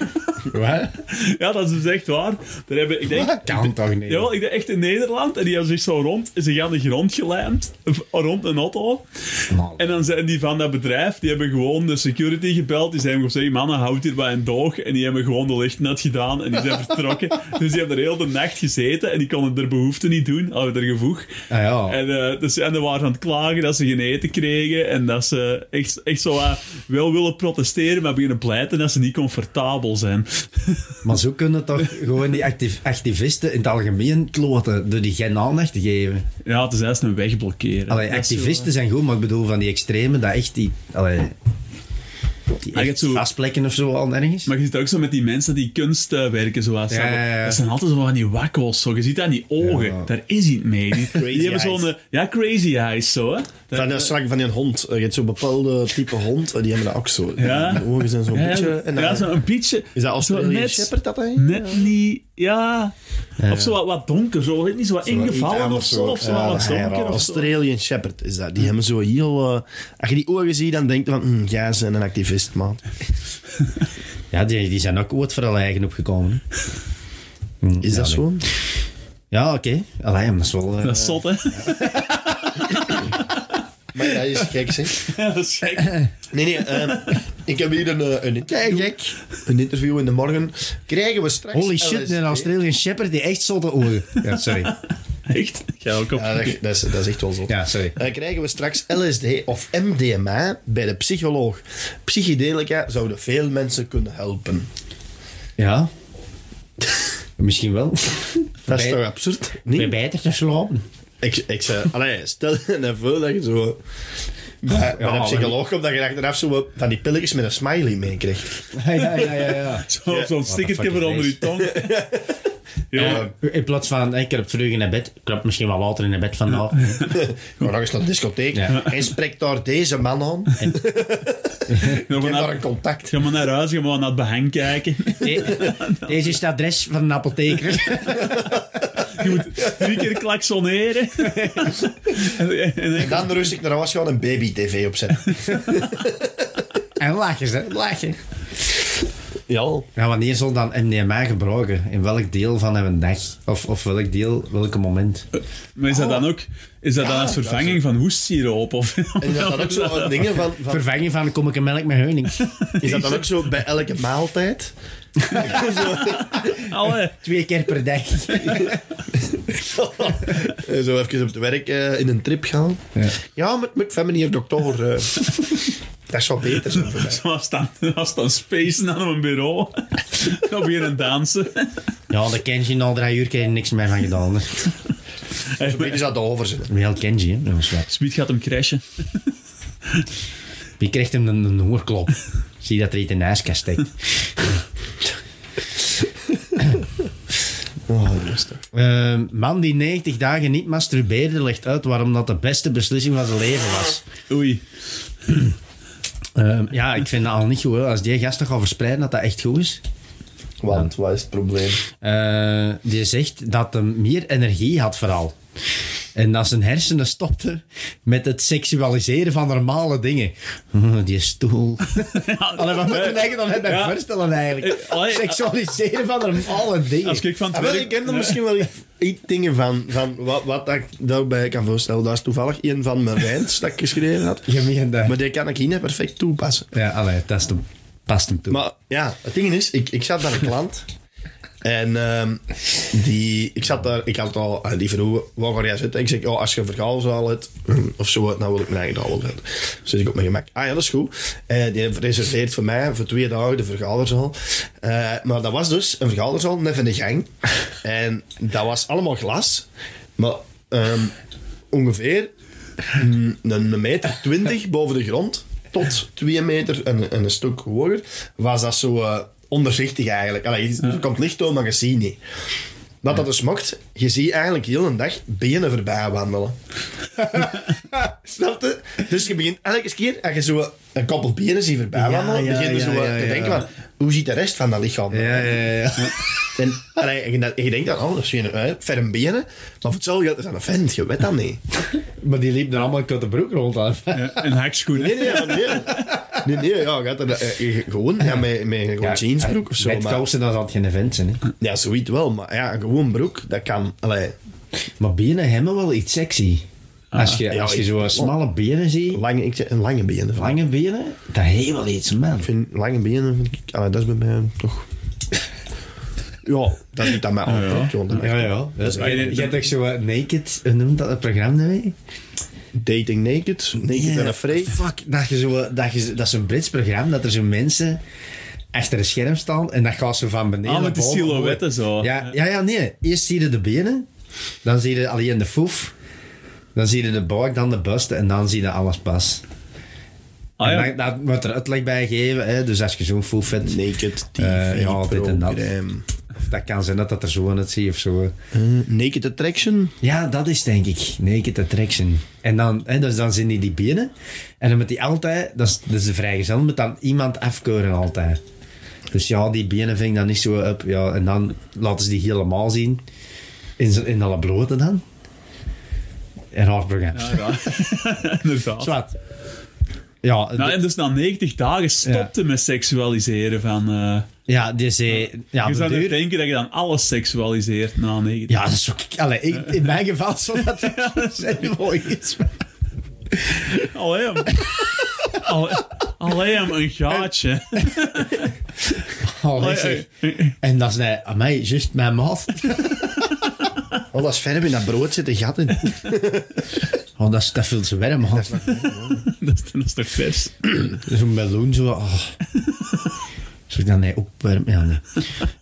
Speaker 1: Wat?
Speaker 2: <laughs> Ja, dat is dus echt waar. Daar hebben, ik denk,
Speaker 1: Kan toch niet?
Speaker 2: Ja, ik denk echt in Nederland. En die hebben zich zo rond... Ze gaan de grond gelijmd. v- Rond een auto. En dan zijn die van dat bedrijf... Die hebben gewoon de security gebeld. Die zijn gewoon gezegd... Mannen, houd hier bij een doog. En die hebben gewoon de lichten net gedaan. En die
Speaker 1: <laughs>
Speaker 2: zijn vertrokken. dus die hebben er heel de nacht gezeten. En die konden er behoefte niet doen. Hadden er gevoeg.
Speaker 1: Ah, ja.
Speaker 2: En, eh dus, en die waren aan het klagen dat ze geen eten kregen. En dat ze echt, echt zo eh, wel willen protesteren. Maar beginnen pleiten dat ze niet comfortabel zijn. <laughs>
Speaker 1: Maar zo kunnen toch gewoon die activ- activisten in het algemeen kloten door die geen aandacht te geven.
Speaker 2: ja, het is juist een weg blokkeren.
Speaker 1: Allee,
Speaker 2: Dat is zo, eh,
Speaker 1: activisten zijn goed, maar ik bedoel van die extremen, dat echt die... Allee, die
Speaker 2: je
Speaker 1: echt
Speaker 2: hebt zo-
Speaker 1: vastplekken of zo al ergens.
Speaker 2: Maar je ziet het ook zo met die mensen die kunstwerken werken, zoals
Speaker 1: Ja, ja, ja.
Speaker 2: dat zijn altijd zo van die wakkels. Zo. Je ziet dat aan die ogen. Daar is iets mee. Die, die
Speaker 3: <laughs> Crazy
Speaker 2: hebben zo'n...
Speaker 3: eyes.
Speaker 2: eh, Ja, crazy eyes, zo, hè. Dat-
Speaker 3: Van, dat strak van die hond. Eh, Je hebt zo'n bepaalde type hond, eh, die hebben dat ook zo.
Speaker 2: Ja.
Speaker 3: Die ogen zijn zo'n
Speaker 2: ja,
Speaker 3: beetje... En dan-
Speaker 2: ja, zo'n beetje...
Speaker 3: is dat
Speaker 2: zo
Speaker 3: Australian
Speaker 2: net,
Speaker 3: Shepherd dat hij?
Speaker 2: Net niet... Ja... Of zo wat, wat donker, zo. weet Niet zo wat ingevallen of zo. Of zo
Speaker 3: Ja,
Speaker 2: wat
Speaker 3: dat is raar.
Speaker 2: donker of zo.
Speaker 3: Australian Shepherd is dat. Die hebben zo heel... eh, als je die ogen ziet, dan denk je van... Hm, jij bent een activist, man.
Speaker 1: Ja, die, die zijn ook ooit voor hun eigen opgekomen.
Speaker 3: Is dat zo?
Speaker 1: Ja, oké. Allee, maar dat is wel... eh,
Speaker 2: Dat is zot, hè.
Speaker 3: Maar dat is gek, zeg.
Speaker 2: <laughs> Ja, dat is gek.
Speaker 3: Nee, nee. ehm, <laughs> ik heb hier een, eh, een interview. Een interview in de morgen. Krijgen we straks...
Speaker 1: Holy shit,
Speaker 3: LSD?
Speaker 1: een Australian Shepherd die echt zotte ogen... <laughs> Ja, sorry.
Speaker 2: Echt? Ik ga ook op.
Speaker 3: Ja, dat, dat is, dat is echt wel zo.
Speaker 1: Ja, sorry.
Speaker 3: Dan krijgen we straks LSD of MDMA bij de psycholoog. Psychedelica zouden veel mensen kunnen helpen.
Speaker 1: Ja. <laughs> Misschien wel.
Speaker 3: Dat is
Speaker 1: Bij-
Speaker 3: toch absurd?
Speaker 1: Bij
Speaker 3: Niet?
Speaker 1: beter te slapen.
Speaker 3: Ik, ik zei, allee, stel <laughs> je nou voor dat je zo bij, bij
Speaker 1: maar-
Speaker 3: een psycholoog komt, dat je achteraf zo wat van die pilletjes met een smiley meekrijgt.
Speaker 1: <laughs> Ja, ja, ja, ja. ja.
Speaker 2: Zo- Zo'n stickertje
Speaker 1: fuck is
Speaker 2: voor onder
Speaker 1: deze?
Speaker 2: je tong. Ja,
Speaker 1: Eh, In plaats van, ik heb vroeg naar bed. Ik klap misschien wel later in het <laughs> bed vandaag.
Speaker 3: Maar nog eens naar de discotheek
Speaker 1: Ja.
Speaker 3: en spreekt daar deze man aan. Ik
Speaker 2: ga maar
Speaker 3: heb daar
Speaker 2: naar,
Speaker 3: een contact.
Speaker 2: ga maar naar huis, ga maar naar het behang kijken.
Speaker 1: De- deze is het adres van een <laughs> apotheker.
Speaker 2: Je moet drie keer klaksoneren. en, en- en-
Speaker 3: En dan rust ik naar huis gaan en baby-tv opzetten.
Speaker 1: En lachen ze, lachen.
Speaker 3: Ja.
Speaker 1: Ja, wanneer zal dan MDMA gebruiken? In welk deel van een dag? Of, of welk deel, welk moment?
Speaker 2: maar is dat dan ook... Is dat dan als vervanging van hoestsiroop? Of,
Speaker 3: En is dat dan ook zo wat dingen van... van-
Speaker 1: Vervanging van kom ik een melk met <laughs> honing.
Speaker 3: is dat dan ook zo bij elke maaltijd?
Speaker 2: Allee.
Speaker 1: Twee keer per dag.
Speaker 3: Eh, Zo even op het werk eh, in een trip gaan. Ja, met mijn familie dokter. eh. <laughs> Dat zou beter zijn voor mij.
Speaker 2: Ze was dan, was dan spacen aan mijn bureau. Dan beginnen dansen.
Speaker 1: Ja, de Kenji in al drie uur kreeg er niks meer van gedaan. hè.
Speaker 3: Dit is dat de overzet.
Speaker 1: Wel Kenji, hè? dat is wat.
Speaker 2: Speed gaat hem crashen.
Speaker 1: Je krijgt hem een, een hoorklop. Zie dat er iets in de ijskast steekt.
Speaker 3: Oh, rustig.
Speaker 1: Eh, man die 90 dagen niet masturbeerde, legt uit waarom dat de beste beslissing van zijn leven was.
Speaker 2: Oei.
Speaker 1: Eh, ja, ik vind dat al niet goed. hè. Als die gasten gaan verspreiden dat dat echt goed is.
Speaker 3: Want, wat is het probleem?
Speaker 1: Eh, die zegt dat hij meer energie had vooral. En dat zijn hersenen stopten met het seksualiseren van normale dingen. <laughs> Hm, die stoel. Allee, wat moet je
Speaker 2: Eh,
Speaker 1: eigenlijk dan net bij
Speaker 2: Ja.
Speaker 1: voorstellen eigenlijk?
Speaker 2: Eh, allee,
Speaker 1: Seksualiseren van normale dingen.
Speaker 2: Als ik van het
Speaker 3: Ah, wel,
Speaker 2: werk-
Speaker 3: ik ken er misschien wel iets- iets dingen van, van wat, wat dat ik daarbij kan voorstellen. Dat is toevallig een van mijn rijns dat ik geschreven had.
Speaker 1: Je meent dat.
Speaker 3: Maar die kan ik hier net perfect toepassen.
Speaker 1: Ja, allee, dat is de- past hem toe.
Speaker 3: Maar ja, het ding is, ik, ik zat bij een klant. En ehm, die, ik zat daar, ik had al, eh, die vroeg, waar ga jij zitten? Ik zeg, oh, als je een verhaalzaal hebt, mm, of zo, dan wil ik mijn eigen al hebben. Dus ik op mijn gemak, ah ja, dat is goed. Eh, die reserveert voor mij voor twee dagen de vergaderzaal. Eh, maar dat was dus een vergaderzaal, net in de gang. En dat was allemaal glas. Maar ehm, ongeveer een, een meter
Speaker 1: <laughs>
Speaker 3: twintig boven de grond, tot twee meter en, en een stuk hoger, was dat zo eh, onderzichtig eigenlijk. Allee, je- er komt licht door, maar je ziet niet. Wat dat dus mocht, je ziet eigenlijk heel een dag benen voorbij wandelen. <laughs> Snap je? Dus je begint elke keer, als je zo een koppel benen ziet voorbij wandelen,
Speaker 1: ja,
Speaker 3: begin je zo
Speaker 1: ja,
Speaker 3: eh,
Speaker 1: ja,
Speaker 3: te
Speaker 1: ja.
Speaker 3: denken van, hoe ziet de rest van dat lichaam er
Speaker 1: ja, ja, ja.
Speaker 3: en allee, en je, en je denkt dan, oh, dat is geen eh, ferm benen. Maar voor hetzelfde geld is dat een vent, je weet dat niet.
Speaker 1: Maar die liep er allemaal uit de broek rond aan.
Speaker 2: Ja, en hakschoenen.
Speaker 3: Nee, nee, nee. Nee, nee, ja, gaat er, eh, eh, gewoon ja, met, met een gewoon jeansbroek of zo.
Speaker 1: Met
Speaker 3: maar-
Speaker 1: kousen, dat is altijd geen vent zijn. Hè.
Speaker 3: ja, zoiets wel, maar ja, een gewoon broek, dat kan. Allee,
Speaker 1: Maar benen hebben wel iets sexy. Als je,
Speaker 3: Ja,
Speaker 1: als je
Speaker 3: ik-
Speaker 1: zo smalle benen ziet,
Speaker 3: lange, ik, zeg, een lange benen. Ik
Speaker 1: lange benen, dat heeft wel iets, man.
Speaker 3: vind lange benen, vind ik, allee, dat is bij mij toch. Ja, dat doet dat mij altijd. joh, dat-
Speaker 1: Ja, ja. Dat is,
Speaker 2: waar.
Speaker 1: Dus je, je hebt ook zo eh, Naked, hoe noemt dat het programma mee?
Speaker 3: Dating naked, naked en
Speaker 1: Ja,
Speaker 3: afraid.
Speaker 1: Fuck, dat, je zo, dat, je, dat is een Brits programma, dat er zo mensen achter een scherm staan en dat gaat zo van beneden
Speaker 2: Ah, met
Speaker 1: naar
Speaker 2: die
Speaker 1: boven.
Speaker 2: silhouetten zo.
Speaker 1: Ja, ja, ja, nee. Eerst zie je de benen, dan zie je alleen de foef, dan zie je de buik, dan de bust en dan zie je alles pas.
Speaker 2: Ah, ja.
Speaker 1: En dan, dat wordt er uitleg bij gegeven, hè. dus als je zo'n foef hebt,
Speaker 3: Naked TV
Speaker 1: Eh, ja, dit en dat.
Speaker 3: programma.
Speaker 1: of dat kan zijn dat dat er zo aan het zie of zo.
Speaker 3: Eh, naked attraction.
Speaker 1: Ja, dat is denk ik Naked Attraction. En dan, hè, dus dan zien die die benen en dan moet die altijd, dat is, dat is de vrijgezel, moet dan iemand afkeuren altijd. Dus ja, die benen ving dan niet zo op. Ja, en dan laten ze die helemaal zien. In, z'n- in alle blote dan. En haar programma.
Speaker 2: Ja, ja. Inderdaad.
Speaker 1: Zwart. Ja,
Speaker 2: Nou,
Speaker 1: de-
Speaker 2: en dus na 90 dagen stopte met seksualiseren van... eh
Speaker 1: ja, die zei... Ja,
Speaker 2: je
Speaker 1: de
Speaker 2: zou niet
Speaker 1: deur...
Speaker 2: denken dat je dan alles seksualiseert na 90
Speaker 1: Ja, dat is ook... Allee, ik, in mijn geval zou
Speaker 2: <laughs>
Speaker 1: dat heel mooi is.
Speaker 2: Allee,
Speaker 1: <laughs>
Speaker 2: hem. Allee, allee, hem, een gaatje.
Speaker 1: Allee,
Speaker 2: Allee,
Speaker 1: zeg.
Speaker 2: eh,
Speaker 1: En dat is nee, aan mij, juist mijn maat.
Speaker 3: <laughs> Oh, dat is verder in dat brood zitten gaten.
Speaker 1: <laughs> Oh, dat, is, dat vult ze warm, man.
Speaker 2: <laughs> dat, is, dat is toch vers?
Speaker 1: Zo'n meloen, zo... Oh. Zo dan hij opwarmt. Ja, nee.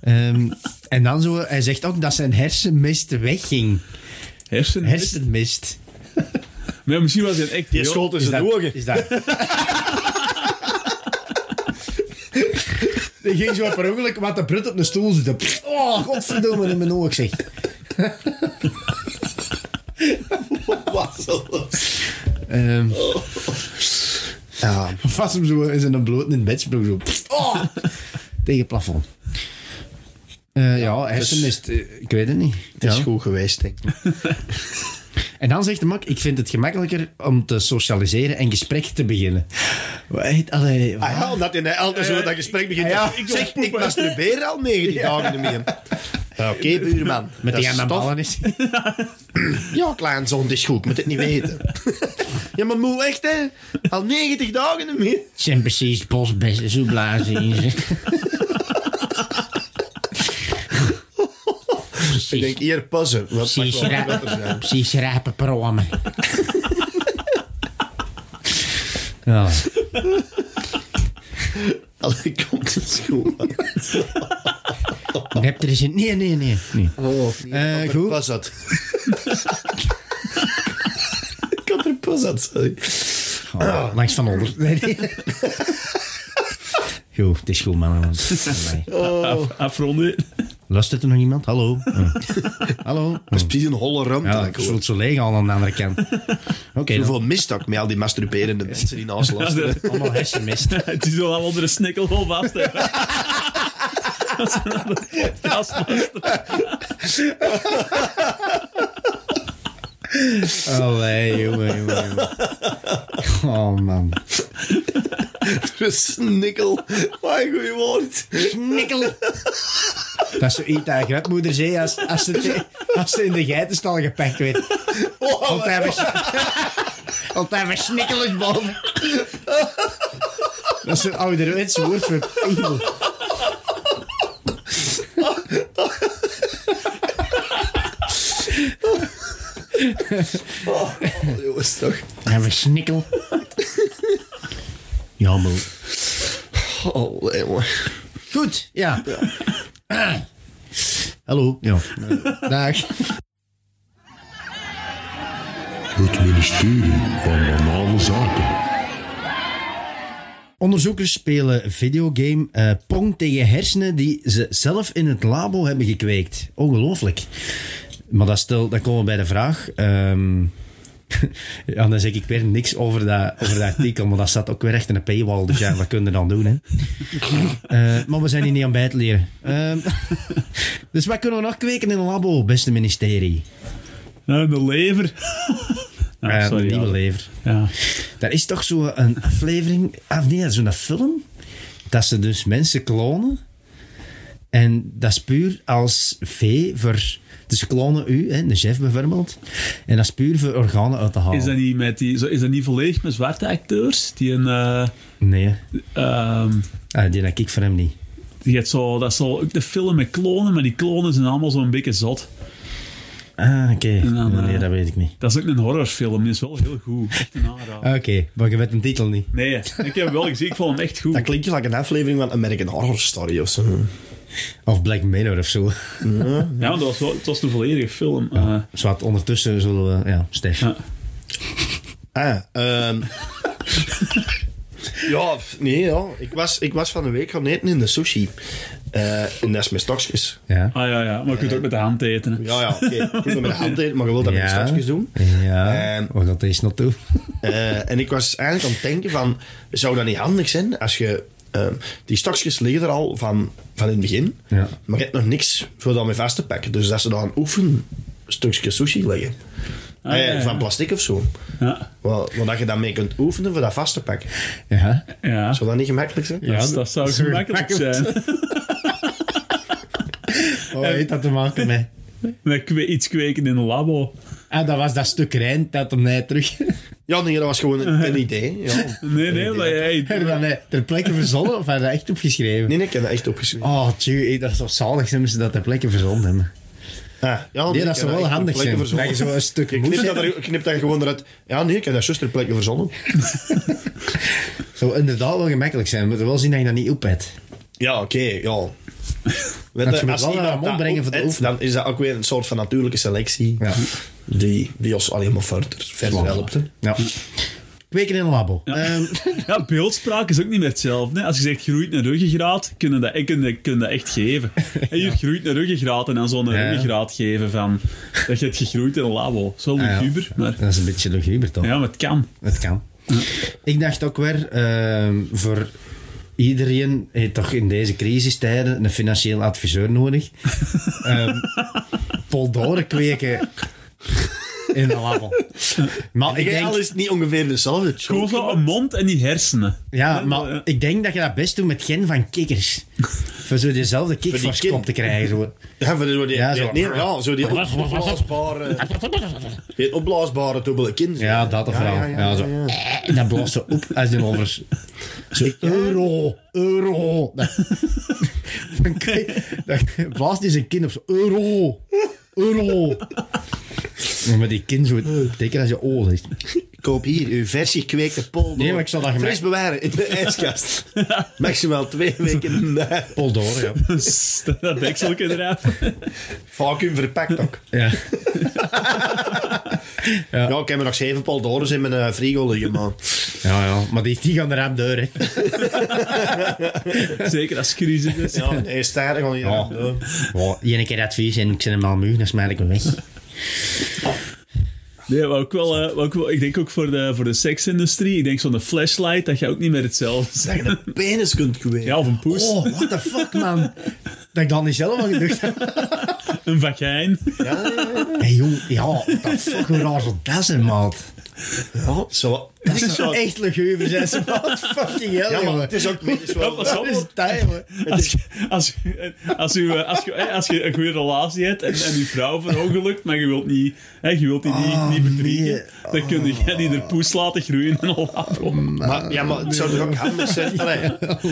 Speaker 1: Ehm, en dan zo... Hij zegt ook dat zijn hersenmist wegging.
Speaker 2: Hersenen.
Speaker 1: Hersenmist.
Speaker 2: Maar misschien was hij een echt...
Speaker 3: Die schoot in zijn ogen.
Speaker 1: Is dat... <laughs> Die ging zo per ongeluk wat de brut op een stoel zitten. Pff, Oh, godverdomme, in mijn oog, zeg. Ehm,
Speaker 3: Ja,
Speaker 1: vast hem zo in zijn bloot in het bedsprong zo. Pff, Oh, tegen het plafond. Eh, ja, hersenmist, eh, ik weet het niet.
Speaker 3: het is
Speaker 1: Ja.
Speaker 3: goed geweest, denk ik.
Speaker 1: En dan zegt de mak, ik vind het gemakkelijker om te socialiseren en gesprek te beginnen. Wat? Allee,
Speaker 3: Ah ja, omdat in altijd zo dat gesprek begint.
Speaker 1: ja,
Speaker 3: ik
Speaker 1: ik
Speaker 3: zeg, ik masturbeer al 90 dagen niet meer. Ja, Oké, buurman.
Speaker 1: met
Speaker 3: dat
Speaker 1: die
Speaker 3: is
Speaker 1: aan mijn
Speaker 3: stof.
Speaker 1: ballen is.
Speaker 3: Ja, kleinzoon, het is goed. ik Moet het niet weten. <laughs> ja, maar moe, echt, hè? Al 90 dagen niet meer.
Speaker 1: Het <laughs> zijn precies bosbessen, zo blazen in ze.
Speaker 3: Ik denk, hier, passen. Wat mag
Speaker 1: Precies,
Speaker 3: wel
Speaker 1: ra-
Speaker 3: beter zijn.
Speaker 1: <laughs> precies rapen promen. Ja.
Speaker 3: Allee, komt eens
Speaker 1: <laughs>
Speaker 3: goed. man.
Speaker 1: Dan heb je er zin. Nee, nee, nee. nee. Eh,
Speaker 3: Ik had er
Speaker 1: goed.
Speaker 3: pas uit. <laughs> Ik had er pas uit, sorry.
Speaker 1: Oh, langs van onder. Nee, nee. <laughs> Goed, het is goed, man.
Speaker 2: Afronden.
Speaker 1: Luistert er nog iemand? <laughs> Hallo. Oh. Hallo.
Speaker 3: Dat is precies een holle ruimte.
Speaker 1: Ja,
Speaker 3: dat
Speaker 1: het
Speaker 3: ik hoor.
Speaker 1: voelt zo leeg al aan de andere kant. Oké, dan.
Speaker 3: Hoeveel mist dat ik met al die masturberende mensen die naast
Speaker 2: Ja,
Speaker 3: luisteren.
Speaker 2: de-
Speaker 1: allemaal hersenmist.
Speaker 2: <laughs> Het is wel al onder een snikkel al vast. hè. <laughs> Als ze naar de podcast luisteren.
Speaker 1: Allee, Oh, jongen, jongen, jongen. Oh, man.
Speaker 3: Snikkel. Mijn goeie woord.
Speaker 1: Snikkel. Dat is zoiets dat je grootmoeder zei als, als, ze, te- als ze in de geitenstal gepakt werd. Altijd even, altijd even snikkelen boven. Dat is een ouderwets woord voor piemel.
Speaker 3: Oh, jongens, toch.
Speaker 1: Even snikkel. Ja, maar...
Speaker 3: Oh, nee, man.
Speaker 1: Goed, ja. Hallo. Ja. Dag.
Speaker 5: Het ministerie van Banale Zaken.
Speaker 1: Onderzoekers spelen videogame eh, Pong tegen hersenen die ze zelf in het labo hebben gekweekt. Ongelooflijk. Maar dat, stel, dat komen we bij de vraag. ehm, <laughs> ja, dan zeg ik weer niks over dat, over dat artikel, maar dat staat ook weer echt in een paywall. Dus ja, wat kunnen we dan doen? Hè? Eh, maar we zijn hier niet aan bij te leren. Ehm, <laughs> dus wat kunnen we nog kweken in een labo, beste ministerie?
Speaker 2: Nou, de lever. <laughs> Ah,
Speaker 1: Eh,
Speaker 2: sorry.
Speaker 1: nieuwe
Speaker 2: ja.
Speaker 1: lever.
Speaker 2: Ja.
Speaker 1: Daar is toch zo'n aflevering, of nee, zo'n film, dat ze dus mensen klonen. En dat is puur als vee voor. Dus ze klonen u, hè, de chef bijvoorbeeld. En dat is puur voor organen uit te halen.
Speaker 2: Is dat niet met die... zo- Is dat niet volledig met zwarte acteurs? Die een... eh,
Speaker 1: Nee, hè.
Speaker 2: ehm,
Speaker 1: ah, die heb ik voor hem niet.
Speaker 2: die heeft zo... Dat is zo ook de film met klonen, maar die klonen zijn allemaal zo'n beetje zot.
Speaker 1: Ah, oké.
Speaker 2: dan,
Speaker 1: Ja, Nee,
Speaker 2: eh,
Speaker 1: dat weet ik niet. Ah,
Speaker 2: Dat is ook een horrorfilm. Die is wel heel goed. Echt een aanrader.
Speaker 1: Oké, maar je weet de titel niet.
Speaker 2: Nee, ik heb hem wel gezien. Ik vond hem echt
Speaker 3: Dat
Speaker 2: goed.
Speaker 3: klinkt like een aflevering van American Horror Story of zo.
Speaker 1: Of Black Mirror of zo. <laughs>
Speaker 2: Ja, want dat was wel, het was een volledige film. eh.
Speaker 1: Zwart, ondertussen zullen we... Ja, Stef.
Speaker 2: Ja.
Speaker 3: Ah, <laughs> ehm. ja, f- nee, ja. Ik was, ik was van de week gaan eten in de sushi. Eh, en dat is met stokjes.
Speaker 1: Ja.
Speaker 2: Ah ja, ja. Maar je kunt ook met de hand eten. hè.
Speaker 3: Ja, ja, oké. Ik moet dat met de hand eten, maar je wilt dat met
Speaker 1: ja.
Speaker 3: stokjes doen.
Speaker 1: Ja,
Speaker 3: En-
Speaker 1: we gaan deze nog toe. <laughs>
Speaker 3: Eh, en ik was eigenlijk aan het denken van... Zou dat niet handig zijn als je... ehm, die stokjes liggen er al van, van in het begin.
Speaker 1: Ja.
Speaker 3: Maar je hebt nog niks voor dat mee vast te pakken. Dus dat ze dan een oefenstukje sushi leggen.
Speaker 2: Ah, ja,
Speaker 3: Eh,
Speaker 2: ja.
Speaker 3: Van plastic of zo.
Speaker 2: Ja.
Speaker 3: Wat, wat je dan mee kunt oefenen voor dat vast te pakken.
Speaker 1: Ja.
Speaker 2: Ja.
Speaker 3: Zou dat niet gemakkelijk zijn?
Speaker 2: Ah. Ja, Dus dat zou
Speaker 1: zo
Speaker 2: gemakkelijk
Speaker 1: gemakkelijk.
Speaker 2: zijn.
Speaker 1: Oh, heeft dat te maken met...
Speaker 2: Met kwe- iets kweken in een labo.
Speaker 1: Ah, dat was dat stuk Rijn dat hem net terug <laughs>
Speaker 3: Ja, nee, dat was gewoon een, een idee.
Speaker 2: <laughs>
Speaker 3: Ja.
Speaker 2: Nee, nee, maar hey,
Speaker 1: dan, eh, ter plekke verzonnen of had hij dat echt opgeschreven?
Speaker 3: Nee, nee, ik heb dat echt opgeschreven.
Speaker 1: Oh, tjie, eh, dat is toch zalig zijn ze dat ter plekke verzonnen hebben.
Speaker 3: Ah, ja, nee,
Speaker 1: Nee,
Speaker 3: ik
Speaker 1: dat
Speaker 3: heb
Speaker 1: zou wel
Speaker 3: echt ter
Speaker 1: handig
Speaker 3: plekke
Speaker 1: zijn. Dat
Speaker 3: verzonnen.
Speaker 1: je zo een stuk
Speaker 3: Ik knip,
Speaker 1: moes
Speaker 3: dat
Speaker 1: hebt.
Speaker 3: er, ik knip dat gewoon eruit. Ja, nee, ik heb dat juist ter plekke verzonnen.
Speaker 1: zou inderdaad wel gemakkelijk zijn. We moeten wel zien dat je dat niet op hebt.
Speaker 3: Ja, oké, ja. Weet
Speaker 1: moet wel
Speaker 3: iemand
Speaker 1: naar hem
Speaker 3: dat
Speaker 1: opbrengen voor de
Speaker 3: opet,
Speaker 1: oefening.
Speaker 3: Dan is dat ook weer een soort van natuurlijke selectie.
Speaker 1: Ja.
Speaker 3: Die, die ons alleen maar verder, verder helpt. hè.
Speaker 1: ja. Kweken in een labo. Ehm,
Speaker 2: <laughs> ja, beeldspraak is ook niet meer hetzelfde. Hè. Als je zegt groeit een ruggengraat, kunnen dat, ik kun, kun dat echt geven. En hier groeit een ruggengraat en dan zo'n
Speaker 1: Ja.
Speaker 2: ruggengraat geven van dat je het gegroeid in een labo. Zo
Speaker 1: ah, ja.
Speaker 2: luguber, maar
Speaker 1: Dat is een beetje luguber toch?
Speaker 2: ja, maar het kan.
Speaker 1: Het kan. Ik dacht ook weer, ehm, voor iedereen heeft toch in deze crisistijden een financieel adviseur nodig. Ehm poldoren kweken in een labo. Maar ik
Speaker 3: Ik al
Speaker 1: denk,
Speaker 3: is het niet ongeveer dezelfde. Het is
Speaker 2: Gewoon zo een mond en die hersenen. <laughs>
Speaker 1: ja, maar ik denk dat je dat best doet met gen van kikkers. Voor zo dezelfde
Speaker 3: Voor die
Speaker 1: kikvorskop
Speaker 3: kin.
Speaker 1: te krijgen. Zo.
Speaker 3: Ja, voor die, voor die,
Speaker 1: Ja,
Speaker 3: ja,
Speaker 1: zo.
Speaker 3: zo. Nee, ja, zo die opblaasbare... Die opblaasbare dubbele kind.
Speaker 1: Ja, dat of wel.
Speaker 3: ja, ja,
Speaker 1: Ja, zo. En dat bloost ze op als een over. Zo, euro, euro. Dat, dan krijg- dan blaast hij zijn kin op zo, oh, euro, euro. Ja, maar die kin zo, teken als je o zegt.
Speaker 3: Koop hier uw vers gekweekte polder.
Speaker 1: Nee, maar ik zal dat gemerkt-
Speaker 3: Fris bewaren
Speaker 1: <laughs>
Speaker 3: in de ijskast. Maximaal twee weken in de
Speaker 1: Poldoren, ja.
Speaker 2: dat dekselke eraf.
Speaker 3: vacuüm verpakt ook.
Speaker 1: ja.
Speaker 3: Ja, ik heb er nog zeven poldores in mijn eh, frigo liggen, man.
Speaker 1: Ja, ja. Maar die, die gaan er aan deur, hè.
Speaker 2: Zeker als het crisis is. dus.
Speaker 3: Ja, nee, staardig gewoon hier.
Speaker 1: Ja.
Speaker 3: Ja.
Speaker 1: Oh, één keer advies en ik zet hem al muur, dan smijt ik hem weg.
Speaker 2: Nee, maar ook wel, eh, maar ook wel- ik denk ook voor de, voor de seksindustrie. Ik denk zo'n flashlight, dat je ook niet meer hetzelfde
Speaker 3: Dat je
Speaker 2: zegt.
Speaker 1: <laughs>
Speaker 3: een penis kunt kweken.
Speaker 2: Ja, of een poes,
Speaker 1: Oh, what the fuck, man. Dat ik dat niet zelf al gedacht heb.
Speaker 2: een vagijn.
Speaker 1: Hé, jong. Ja, what the fuck, hoe raar zou dat zijn, maat?
Speaker 3: Ja, zo.
Speaker 1: Dat zou echt luguber zijn, ze,
Speaker 3: <laughs>
Speaker 1: maat. Fucking hell,
Speaker 3: Ja, maar
Speaker 1: jongen.
Speaker 3: het is ook medisch
Speaker 2: Ja,
Speaker 3: wel...
Speaker 2: pas op,
Speaker 1: Dat is
Speaker 2: want
Speaker 1: tijd, jongen.
Speaker 2: als, je- als, je- als, je, eh, als, je, eh, als je een goede relatie hebt en, en je vrouw verongelukt, maar je wilt, niet, hè, je wilt die niet,
Speaker 3: Ah,
Speaker 2: niet bedriegen, dan kun je die er poes laten groeien en al afronden.
Speaker 3: Maar, Ah, ja, maar het zou toch ook handig
Speaker 1: <laughs>
Speaker 3: zijn allee,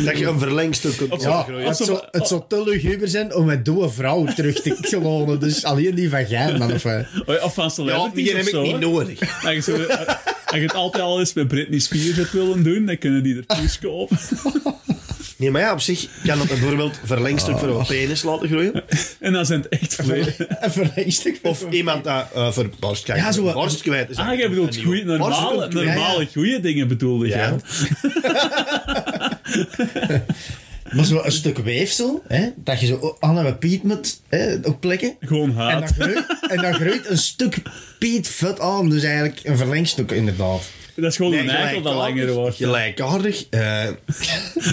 Speaker 3: dat je een verlengstuk kunt
Speaker 1: Ja,
Speaker 3: groeien.
Speaker 1: het zou, het zou te luguber zijn om een dode vrouw terug te klonen. Dus alleen die van jij, man. Of, eh.
Speaker 2: Oh ja, Of van
Speaker 3: Ja,
Speaker 2: celebrities
Speaker 3: die
Speaker 2: of
Speaker 3: heb ik
Speaker 2: zo.
Speaker 3: niet
Speaker 2: hè.
Speaker 3: nodig.
Speaker 2: Als je, zo- als je het altijd al eens met Britney Spears hebt willen doen, dan kunnen die er poes kopen.
Speaker 3: Nee, maar ja, op zich kan dat bijvoorbeeld verlengstuk voor een penis laten groeien.
Speaker 2: En dan zijn het echt vlees.
Speaker 1: Ah. <laughs> Een verlengstuk.
Speaker 3: Of iemand dat eh, voor borst kwijt
Speaker 1: Ja, zo-
Speaker 3: Borst kwijt is.
Speaker 2: Ah, jij bedoelt
Speaker 3: een
Speaker 2: goeie,
Speaker 3: nieuwe-
Speaker 2: normale,
Speaker 3: borstkunt-
Speaker 2: normale goeie dingen bedoelde
Speaker 3: Ja.
Speaker 2: jij.
Speaker 1: Maar zo een stuk weefsel, hè, dat je zo aan een piet moet hè, op plekken.
Speaker 2: Gewoon
Speaker 1: En
Speaker 3: <laughs>
Speaker 1: dan,
Speaker 2: haat.
Speaker 1: groeit, en dan groeit een stuk piet vet aan. Dus eigenlijk een verlengstuk, inderdaad.
Speaker 2: Dat is gewoon
Speaker 3: Nee,
Speaker 2: een eikel dat
Speaker 3: gelijkaardig-
Speaker 2: langer wordt.
Speaker 3: Gelijkaardig. eh,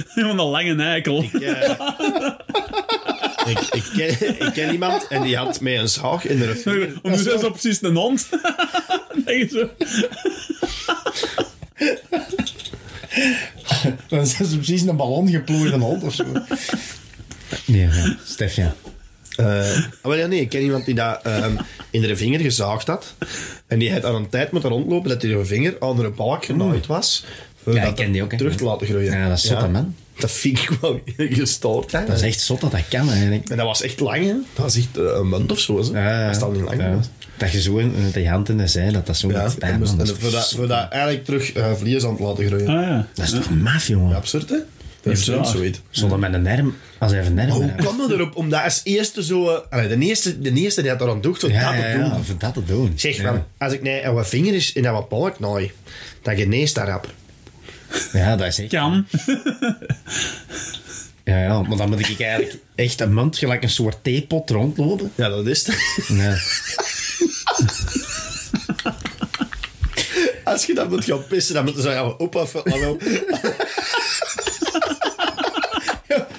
Speaker 2: Gewoon <laughs> een lange eikel.
Speaker 3: ja. ik, ik, ken, ik ken iemand en die had mij een zaag in de rivier.
Speaker 2: <laughs> Om dus zo zo precies een hond. <laughs> Denk je zo.
Speaker 1: Dan zijn ze precies een ballon geplooid een hond of zo. Nee, ja. Stef, ja.
Speaker 3: Eh, maar ja, nee, ik ken iemand die dat ehm, in de vinger gezaagd had. En die had aan een tijd moeten rondlopen dat hij de vinger onder een balk genaaid was. om
Speaker 1: Ja,
Speaker 3: dat
Speaker 1: ik ken die ook, hè.
Speaker 3: Terug te laten groeien.
Speaker 1: Ja, dat is zot, hè, man.
Speaker 3: Dat vind ik wel <laughs> gestoord. Hè.
Speaker 1: Dat is echt zot dat dat kan, eigenlijk.
Speaker 3: En dat was echt lang, hè. Dat was echt eh, een maand of zo. Hè.
Speaker 1: Ja, ja.
Speaker 3: Dat is dan niet lang.
Speaker 1: Ja.
Speaker 3: hè.
Speaker 1: Dat je zo een- met de hand in de zij, dat dat zo
Speaker 3: Ja,
Speaker 1: moet
Speaker 3: en
Speaker 1: pijn,
Speaker 3: moest-
Speaker 1: man.
Speaker 3: en
Speaker 1: Dat is
Speaker 3: voor, dat,
Speaker 1: toch-
Speaker 3: voor dat eigenlijk terug eh vlies aan het laten groeien.
Speaker 2: Ah ja.
Speaker 1: dat is toch maf, jongen?
Speaker 3: Absurd, hè? Dat is
Speaker 2: Ja.
Speaker 3: zoiets.
Speaker 1: Zonder met een arm, als hij even een arm
Speaker 3: Hoe
Speaker 1: had.
Speaker 3: kwam dat erop om dat als eerste zo... eh, allee, de, eerste, de eerste die dat eraan doet, zo
Speaker 1: Ja,
Speaker 3: dat
Speaker 1: ja,
Speaker 3: te doen.
Speaker 1: ja, voor dat te doen.
Speaker 3: Zeg,
Speaker 1: ja.
Speaker 3: man, als ik nee, aan wat vinger is en aan wat balk naai, dan geneest dat rap.
Speaker 1: Ja, dat is echt...
Speaker 2: Kan.
Speaker 1: Ja, ja, maar dan moet ik eigenlijk echt een mand gelijk een soort theepot rondlopen.
Speaker 3: Ja, dat is het.
Speaker 1: Nee.
Speaker 3: <laughs> Als je dat moet gaan pissen, dan moet je zeggen, opa, vat maar wel.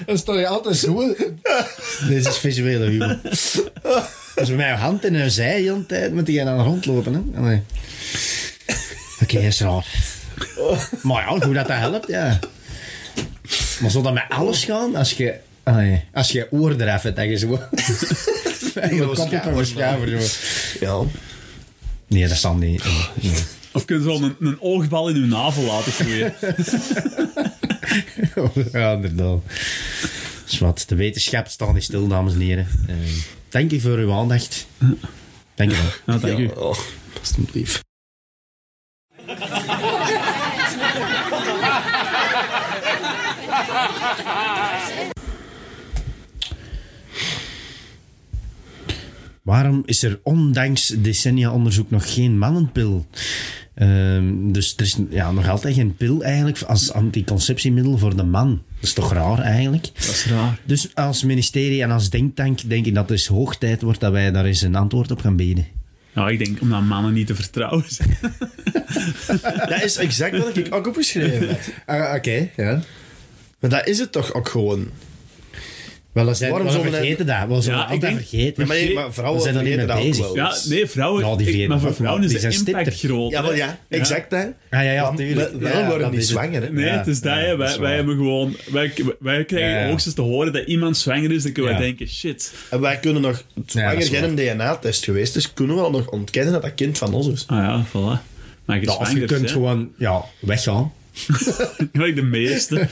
Speaker 1: Dan sta je altijd zo. Dit is visuele humor. Als we met mijn hand in een zij de hele tijd moet je aan rondlopen. Hè? Allee. Oké, is raar. Maar ja, goed dat dat helpt, ja. Maar zou dat met alles gaan? Als je, allee, als je oor eraf hebt, dat
Speaker 3: <laughs>
Speaker 1: je zo... Je kop op een schuiver, zo.
Speaker 3: Ja. Oh,
Speaker 1: Nee, dat zal niet. Nee.
Speaker 2: Of kun je zo een, een oogbal in je navel laten <laughs> groeien.
Speaker 1: <laughs> ja, inderdaad. Zwat, de wetenschap staat niet stil, dames en heren. Eh, Dank u voor uw aandacht. Dank u wel.
Speaker 2: Nou, dank u.
Speaker 3: Oh, alstublieft.
Speaker 1: Waarom is er ondanks decennia onderzoek nog geen mannenpil? Ehm, dus er is ja, nog altijd geen pil eigenlijk als anticonceptiemiddel voor de man. Dat is toch raar eigenlijk?
Speaker 2: Dat is raar.
Speaker 1: Dus als ministerie en als denktank denk ik dat het dus hoog tijd wordt dat wij daar eens een antwoord op gaan bieden.
Speaker 2: Nou, ik denk omdat mannen niet te vertrouwen zijn.
Speaker 3: Dat is exact wat ik ook opgeschreven heb.
Speaker 1: Ah, Oké, ja.
Speaker 3: Maar dat is het toch ook gewoon.
Speaker 1: Wel, we zijn,
Speaker 3: Waarom
Speaker 1: Waarom we
Speaker 3: zouden we-
Speaker 1: vergeten dat. We zijn
Speaker 2: Ja, ik
Speaker 1: altijd
Speaker 2: denk-
Speaker 1: vergeten.
Speaker 3: Ja, maar, nee, maar vrouwen
Speaker 1: We zijn er niet
Speaker 3: vergeten
Speaker 1: mee
Speaker 3: dat
Speaker 1: bezig.
Speaker 3: ook wel.
Speaker 2: <laughs> Ja, nee, vrouwen.
Speaker 1: Ja, die
Speaker 2: ik-
Speaker 1: vieren
Speaker 2: maar voor
Speaker 1: ook,
Speaker 2: vrouwen is
Speaker 1: die
Speaker 2: de
Speaker 1: zijn
Speaker 2: impact
Speaker 1: stipter.
Speaker 2: groot.
Speaker 3: Ja, wel, ja, exact, hè.
Speaker 1: Ah, ja, ja,
Speaker 3: Want
Speaker 1: tuurlijk.
Speaker 3: we- Wel
Speaker 1: Ja,
Speaker 3: worden
Speaker 1: dat
Speaker 3: niet
Speaker 1: is het.
Speaker 3: zwanger, hè.
Speaker 2: Nee,
Speaker 1: Ja,
Speaker 2: het is dat,
Speaker 1: ja,
Speaker 2: hè.
Speaker 1: dat
Speaker 2: Wij,
Speaker 1: is
Speaker 2: wij
Speaker 1: waar.
Speaker 2: hebben gewoon... Wij, wij krijgen
Speaker 1: Ja, ja.
Speaker 2: hoogstens te horen dat iemand zwanger is, dan kunnen wij
Speaker 1: Ja.
Speaker 2: denken, shit.
Speaker 3: En wij kunnen nog,
Speaker 1: Ja,
Speaker 3: zolang
Speaker 1: dat
Speaker 3: er
Speaker 1: is
Speaker 3: geen DNA-test geweest is, kunnen we al nog ontkennen dat dat kind van ons is.
Speaker 2: Ah ja, voilà. Maar je
Speaker 1: Ja, of je
Speaker 2: zwanger
Speaker 1: kunt
Speaker 2: bent, hè.
Speaker 1: gewoon ja, weggaan.
Speaker 2: Gelijk de meeste.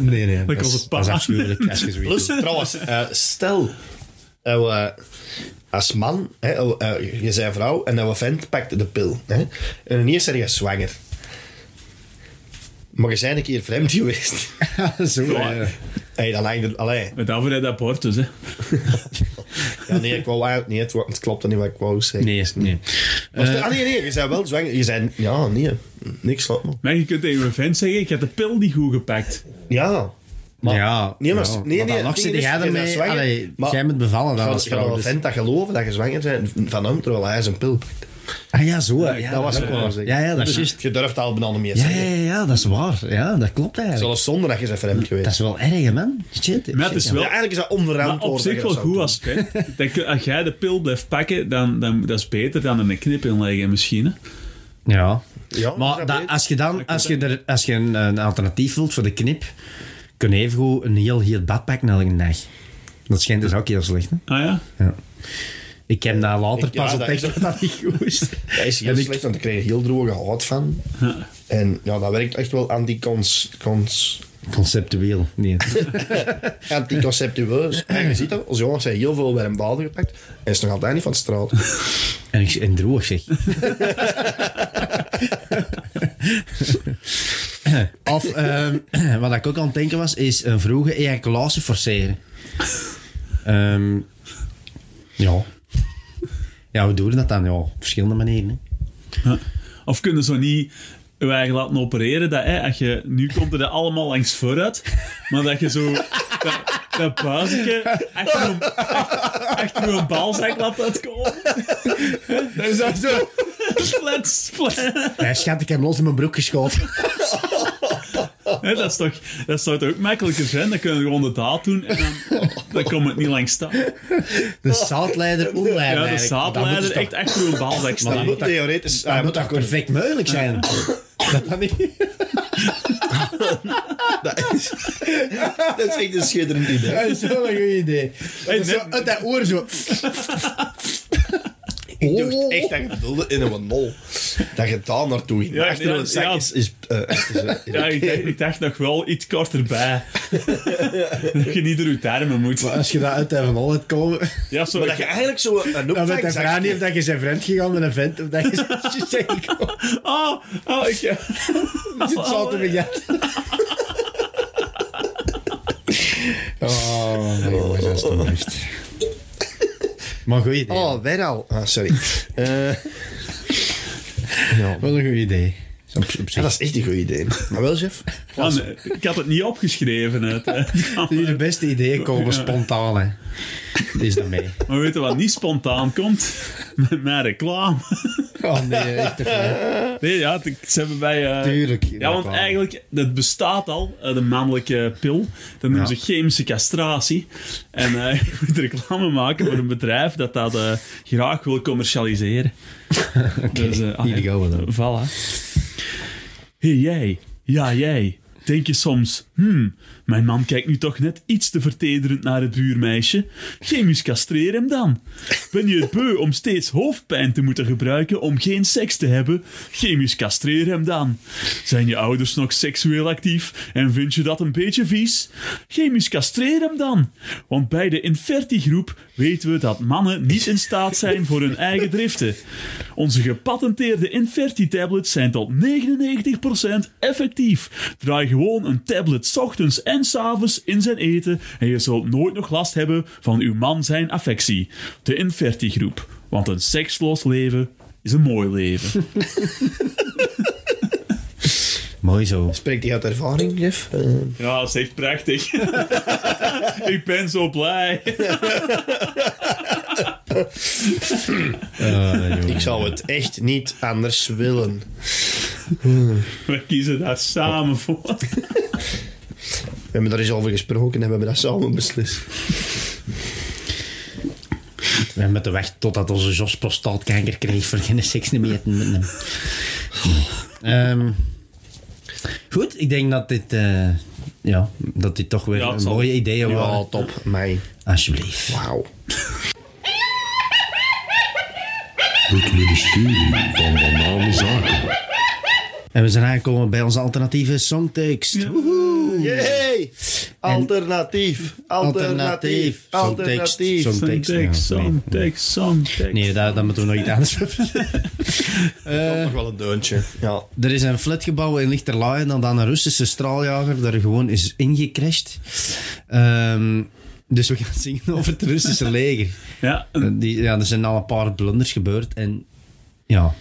Speaker 1: Nee, nee. Dat,
Speaker 2: was
Speaker 1: is,
Speaker 2: het
Speaker 1: dat is
Speaker 2: pa.
Speaker 1: Dus, eh, afschuwelijk als je zoiets
Speaker 3: Plus, trouwens, eh, stel, eh, we- als man, hè, eh, eh, je bent vrouw en dan een vent pakt de pil. Hè, en ineens ben je zwanger. Maar je bent een keer vreemd
Speaker 1: <laughs>
Speaker 3: geweest.
Speaker 1: Zo, <laughs> ja. ja.
Speaker 3: hey, dan hangt het... Allee.
Speaker 2: Met daarvoor heb je dat bord dus, hè.
Speaker 3: Ja, nee, ik wou eigenlijk niet. Het wa- Het klopte niet wat ik wou zeggen.
Speaker 1: Nee, Eh. nee.
Speaker 3: Was het- ah, nee, nee. Je bent wel zwanger. Je bent... Ja, nee. Niks slot, man.
Speaker 2: Maar je kunt tegen mijn vent zeggen, ik heb de pil niet goed gepakt.
Speaker 3: Ja.
Speaker 1: Oh, ja,
Speaker 3: Nee, maar-
Speaker 1: ja.
Speaker 3: nee,
Speaker 1: dan
Speaker 3: nee,
Speaker 1: nog
Speaker 3: nee,
Speaker 1: zit
Speaker 3: dus
Speaker 1: jij
Speaker 3: je bent
Speaker 1: ermee.
Speaker 3: zwanger,
Speaker 1: Allee,
Speaker 3: maar-
Speaker 1: jij bent bevallen dan.
Speaker 3: Van,
Speaker 1: als
Speaker 3: van een
Speaker 1: vrouw, dus-
Speaker 3: vent dat geloven dat je zwanger bent van hem, terwijl hij zijn pil pakt.
Speaker 1: Ah ja, zo. Ja, ja,
Speaker 3: dat was ook wel
Speaker 1: Ja, ja, dat is juist.
Speaker 3: Je durft al bijna niet meer
Speaker 1: Ja,
Speaker 3: zeggen.
Speaker 1: ja, ja, ja, dat is waar. Ja, dat klopt eigenlijk.
Speaker 3: Zelfs zonder dat je zijn vreemd geweest.
Speaker 1: Dat is wel erg, hè, man. Shit.
Speaker 2: Maar het is
Speaker 1: shit,
Speaker 2: wel-
Speaker 3: Ja, eigenlijk is
Speaker 2: Maar
Speaker 3: dat onverantwoord.
Speaker 2: op
Speaker 3: dat
Speaker 2: zich
Speaker 3: je
Speaker 2: wel
Speaker 3: dat
Speaker 2: goed
Speaker 3: zou
Speaker 2: als het, hè. Dat je- Als jij de pil blijft pakken, dan, dan dat is beter dan een knip inleggen misschien. Hè.
Speaker 1: Ja.
Speaker 3: Ja, dus
Speaker 1: maar
Speaker 3: dat
Speaker 1: dat-
Speaker 3: weet-
Speaker 1: als je dan als je, er, als je een, een alternatief wilt voor de knip, kun je even goed een heel heel badpak naar een dag. Dat schijnt dus ook heel slecht. Hè?
Speaker 2: Ah ja?
Speaker 1: Ik heb daar later
Speaker 3: Eh, Ik- ja,
Speaker 1: pas
Speaker 3: dat
Speaker 1: ontdekt
Speaker 3: is ook-
Speaker 1: <laughs> dat dat niet goed is.
Speaker 3: doen. Dat is heel
Speaker 1: En ik-
Speaker 3: slecht, want ik kreeg heel droge hout van. En ja, dat werkt echt wel anti-cons... Cons,
Speaker 1: Conceptueel.
Speaker 3: <laughs>
Speaker 1: Nee.
Speaker 3: anticonceptueus. En je ziet dat, onze jongens zijn heel veel wermbaden gepakt. En is nog altijd niet van de straat.
Speaker 1: En, ik, en droog zeg. <laughs> of ehm, <clears throat> wat ik ook aan het denken was, is een vroege ejaculatie forceren. Ehm, ja. Ja, we doen dat dan ja, op verschillende manieren. Hè.
Speaker 2: Of kunnen ze niet je eigen laten opereren? Dat, hè, als je, nu komt het er allemaal langs vooruit, maar dat je zo dat, dat buizetje achter een, achter een balzak laat uitkomen. Dat is dat zo... Flat, flat.
Speaker 1: Hij schat, ik heb los in mijn broek geschoten.
Speaker 2: Hè, dat, is toch, dat zou toch ook makkelijker zijn? Dan kunnen we gewoon de daad doen en
Speaker 1: <laughs>
Speaker 2: dan, dan komt het niet langs staan.
Speaker 1: De zaadleider, onleider.
Speaker 2: Ja, de
Speaker 1: eigenlijk. Dat moet
Speaker 2: zaadleider
Speaker 1: toch-
Speaker 2: echt achter een balzak
Speaker 1: <laughs>
Speaker 3: Dat
Speaker 2: staan.
Speaker 3: moet theoretisch...
Speaker 1: Dat
Speaker 3: ah,
Speaker 1: moet toch perfect mogelijk zijn? Dat dan niet?
Speaker 3: Dat is, <laughs> dat is echt een schitterend idee.
Speaker 1: Dat is wel een goed idee.
Speaker 2: Hey,
Speaker 1: Zo,
Speaker 2: net-
Speaker 1: uit dat oor zo.
Speaker 3: Ik dacht echt dat je bedoelde in een mol. Dat je daar naartoe ging.
Speaker 2: Ja,
Speaker 3: Maar achter
Speaker 2: ja,
Speaker 3: een zak
Speaker 2: ja.
Speaker 3: is... is, eh, is, eh,
Speaker 2: Ja, ik dacht, ik dacht nog wel iets korter
Speaker 1: <laughs>
Speaker 2: bij. dat je niet door je darmen moet.
Speaker 1: Als je dat uit Van Holland komen,
Speaker 2: Ja, zo,
Speaker 3: Maar dat je eigenlijk zo een
Speaker 1: dan weet de vraag niet
Speaker 3: opvangzakje...
Speaker 1: of dat je zijn vriend gegaan met een vent of dat je zijn zeggen komt.
Speaker 2: Oh, oh, ik...
Speaker 1: Het zal te begat. Oh, nee, jongens, alsjeblieft. Maar goed idee.
Speaker 3: Oh, weer al. Ah,
Speaker 2: <laughs>
Speaker 3: sorry. Eh,
Speaker 1: Wat een goed idee. Op, op
Speaker 3: ja,
Speaker 1: zich.
Speaker 3: dat is echt een goed idee. Maar wel, chef?
Speaker 2: Man, Ah, ik had het niet opgeschreven. Uit,
Speaker 1: <laughs>
Speaker 2: eh.
Speaker 1: De beste ideeën komen spontaan, hè. Het is daarmee.
Speaker 2: maar weet je wat niet spontaan komt? Met mijn reclame.
Speaker 1: Oh nee, echt toch niet.
Speaker 2: Nee, ja, het- ze hebben bij... eh,
Speaker 1: Tuurlijk,
Speaker 2: Ja, want
Speaker 1: reclame.
Speaker 2: eigenlijk, dat bestaat al, eh, de mannelijke pil. Dat noemen ze chemische castratie. En eh, <laughs> je moet reclame maken voor een bedrijf dat dat eh, graag wil commercialiseren. dus, eh, ah,
Speaker 1: hier
Speaker 2: ja.
Speaker 1: gaan we dan.
Speaker 2: Voilà. Hey jij, ja jij. Denk je soms, hmm, mijn man kijkt nu toch net iets te vertederend naar het buurmeisje. Chemisch castreer hem dan. Ben je het beu om steeds hoofdpijn te moeten gebruiken om geen seks te hebben? Chemisch castreer hem dan. Zijn je ouders nog seksueel actief en vind je dat een beetje vies? Chemisch castreer hem dan. Want bij de Inferti-groep weten we dat mannen niet in staat zijn voor hun eigen driften. Onze gepatenteerde Inferti-tablets zijn tot 99% effectief. Draai gewoon een tablet 's ochtends en 's avonds in zijn eten en je zult nooit nog last hebben van uw man zijn affectie. De Inferti-groep. Want een seksloos leven is een mooi leven.
Speaker 1: Mooi zo.
Speaker 3: Spreekt die uit ervaring, chef? Eh,
Speaker 2: <laughs> Ja, dat is echt prachtig. <laughs> Ik ben zo blij.
Speaker 3: ik zou het echt niet anders willen.
Speaker 2: We kiezen daar samen voor.
Speaker 3: We hebben daar eens over gesproken en we hebben dat samen beslist.
Speaker 1: We hebben te wachten totdat onze Jos prostaatkanker kreeg voor geen seks niet meer te doen met hem. Ehm, goed, ik denk dat dit, eh, ja, dat dit toch weer
Speaker 2: Ja, het
Speaker 1: een
Speaker 2: zal-
Speaker 1: mooie ideeën
Speaker 3: Ja,
Speaker 1: waren.
Speaker 3: top. Mij.
Speaker 1: Alsjeblieft.
Speaker 3: Wauw.
Speaker 5: Het ministerie van Banale Zaken.
Speaker 1: En we zijn aangekomen bij onze alternatieve songtekst. Woehoe.
Speaker 3: Yay! Alternatief. Alternatief.
Speaker 1: Songtekst.
Speaker 3: Alternatief.
Speaker 1: Songtekst.
Speaker 2: Songtekst,
Speaker 1: ja.
Speaker 2: songtekst, songtekst.
Speaker 1: Nee, daar, daar moeten we nog iets anders
Speaker 2: <laughs>
Speaker 1: voor
Speaker 3: Komt nog wel een deuntje. Ja.
Speaker 1: Er is een flatgebouw in Lichterlaaien dat aan een Russische straaljager daar gewoon is ingecrashed. Ehm, dus we gaan zingen over het Russische leger.
Speaker 2: Ja,
Speaker 1: Eh, Die, ja, er zijn al een paar blunders gebeurd en ja,